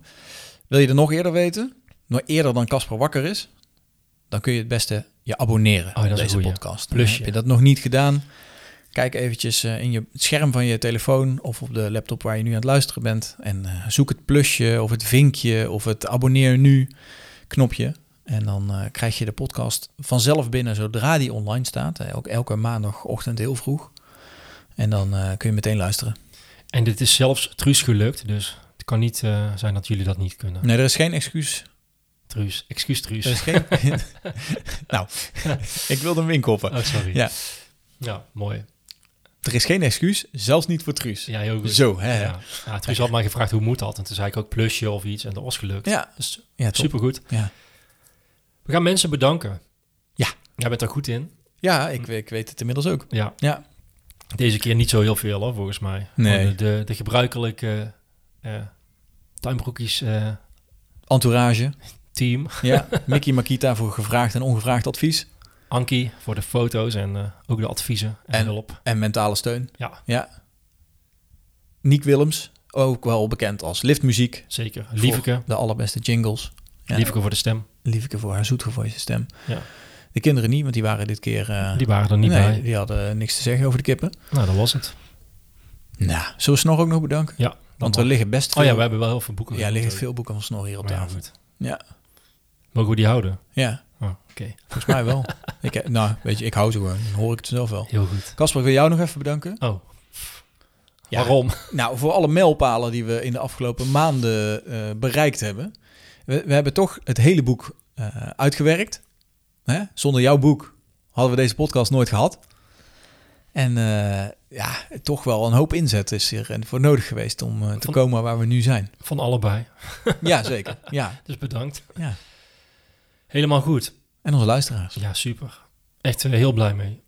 Wil je er nog eerder weten? Nog eerder dan Casper wakker is? Dan kun je het beste je abonneren Oh, dat is op een deze goeie. podcast. Plusje. Heb je dat nog niet gedaan? Kijk eventjes eh, in je het scherm van je telefoon of op de laptop waar je nu aan het luisteren bent. En eh, zoek het plusje of het vinkje of het abonneer nu knopje. En dan eh, krijg je de podcast vanzelf binnen zodra die online staat. Eh, ook elke maandagochtend heel vroeg. En dan eh, kun je meteen luisteren. En dit is zelfs Truus gelukt, dus het kan niet eh, zijn dat jullie dat niet kunnen. Nee, er is geen excuus. Truus, excuus Truus. Er is geen... nou, ik wilde hem inkoppen. Oh, sorry. Ja. Ja, mooi. Er is geen excuus, zelfs niet voor Truus. Ja, heel goed. Zo, hè? Ja. Ja, Truus had mij gevraagd hoe moet dat? En toen zei ik ook plusje of iets en dat was gelukt. Ja. Dus Ja, top. supergoed. Ja. We gaan mensen bedanken. Ja. Jij bent er goed in. Ja, Hm. ik, ik weet het inmiddels ook. Ja. Ja. Deze keer niet zo heel veel hoor, volgens mij. Nee. Gewoon De, de, de gebruikelijke eh tuinbroekjes eh, Entourage. team. Ja, Mickey Makita voor gevraagd en ongevraagd advies. Ankie voor de foto's en eh, ook de adviezen en, En- hulp. En mentale steun. Ja, Ja. Niek Willems, ook wel bekend als liftmuziek. zeker. Voor Lieveke. De allerbeste jingles. Ja. Lieveke voor de stem. Lieveke voor haar zoetgevoelige stem. Ja. De kinderen niet, want die waren dit keer... eh, Die waren er niet nee, bij. die hadden niks te zeggen over de kippen. Nou, dat was het. Nou, zullen we Snor ook nog bedanken? Ja. dat Want mag. er liggen best veel... Oh ja, we hebben wel heel veel boeken. ja, er gehad liggen ook. veel boeken van Snor hier op Maar ja, tafel. goed. Ja, Mogen we die houden? ja, Oh, Oké, volgens mij wel. ik, heb- nou, weet je, ik hou ze gewoon. Dan hoor ik het zelf wel. heel goed. Casper, ik wil jou nog even bedanken. Oh, Ja. waarom? Nou, voor alle mijlpalen die we in de afgelopen maanden eh, bereikt hebben. We, we hebben toch het hele boek eh, uitgewerkt. Hè? Zonder jouw boek hadden we deze podcast nooit gehad. En eh, ja, toch wel een hoop inzet is er voor nodig geweest om eh, te Van- komen waar we nu zijn. Van allebei. ja, zeker. Ja, Dus bedankt. ja. Helemaal goed. En onze luisteraars. Ja, super. Echt eh, heel blij mee.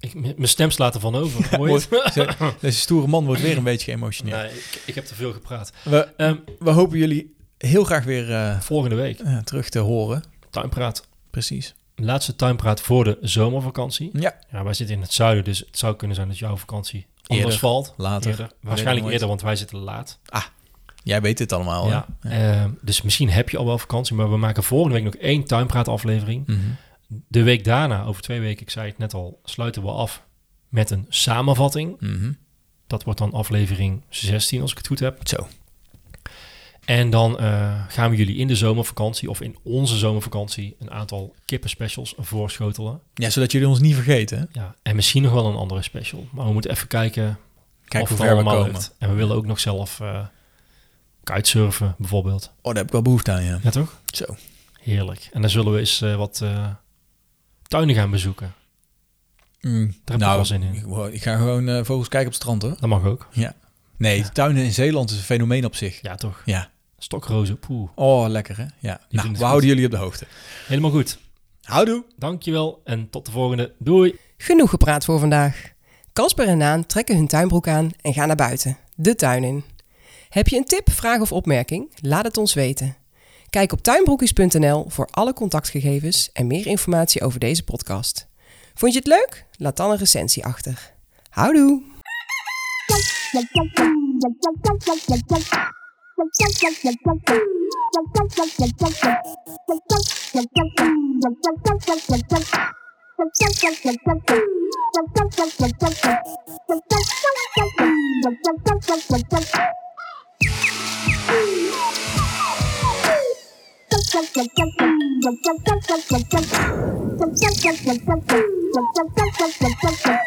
Ik, m- mijn stem slaat ervan over. Hoor je het? Ze- Deze stoere man wordt weer een beetje geëmotioneerd. Nee, ik, ik heb te veel gepraat. We, Ehm, we hopen jullie heel graag weer eh, volgende week, eh, terug te horen. tuinpraat. Precies. Laatste tuinpraat voor de zomervakantie. Ja. Ja, wij zitten in het zuiden, dus het zou kunnen zijn dat jouw vakantie anders Eerder, valt. later. Eerder. Weet ik Waarschijnlijk nooit. eerder, want wij zitten laat. Jij weet dit allemaal. hè? Ja, ehm, dus misschien heb je al wel vakantie, maar we maken volgende week nog één tuinpraataflevering. Mhm. De week daarna, over twee weken, ik zei het net al, sluiten we af met een samenvatting. Mhm. Dat wordt dan aflevering 16, als ik het goed heb. Zo. En dan eh, gaan we jullie in de zomervakantie of in onze zomervakantie een aantal kippenspecials voorschotelen. Ja, zodat jullie ons niet vergeten. hè? Ja, en misschien nog wel een andere special. Maar we moeten even kijken Kijk of hoe het ver we allemaal komen. lukt. En we willen ook nog zelf eh kitesurfen bijvoorbeeld. Oh, daar heb ik wel behoefte aan, ja. Ja toch? Zo. Heerlijk. En dan zullen we eens eh, wat eh, tuinen gaan bezoeken. Mm, ik wel zin in. Ik, wow, ik ga gewoon eh, vogels kijken op het strand, hoor. Dat mag ook. Nee, Ja. tuinen in Zeeland is een fenomeen op zich. Ja toch? Ja. Stokrozen, poeh. Oh, lekker, hè? Ja. het Nou, we goed. houden jullie op de hoogte. Helemaal goed. Houdoe! Dankjewel en tot de volgende. Doei! Genoeg gepraat voor vandaag. Kasper en Naan trekken hun tuinbroek aan en gaan naar buiten, de tuin in. Heb je een tip, vraag of opmerking? Laat het ons weten. Kijk op tuinbroekjes.nl voor alle contactgegevens en meer informatie over deze podcast. Vond je het leuk? Laat dan een recensie achter. Houdoe! Thank you.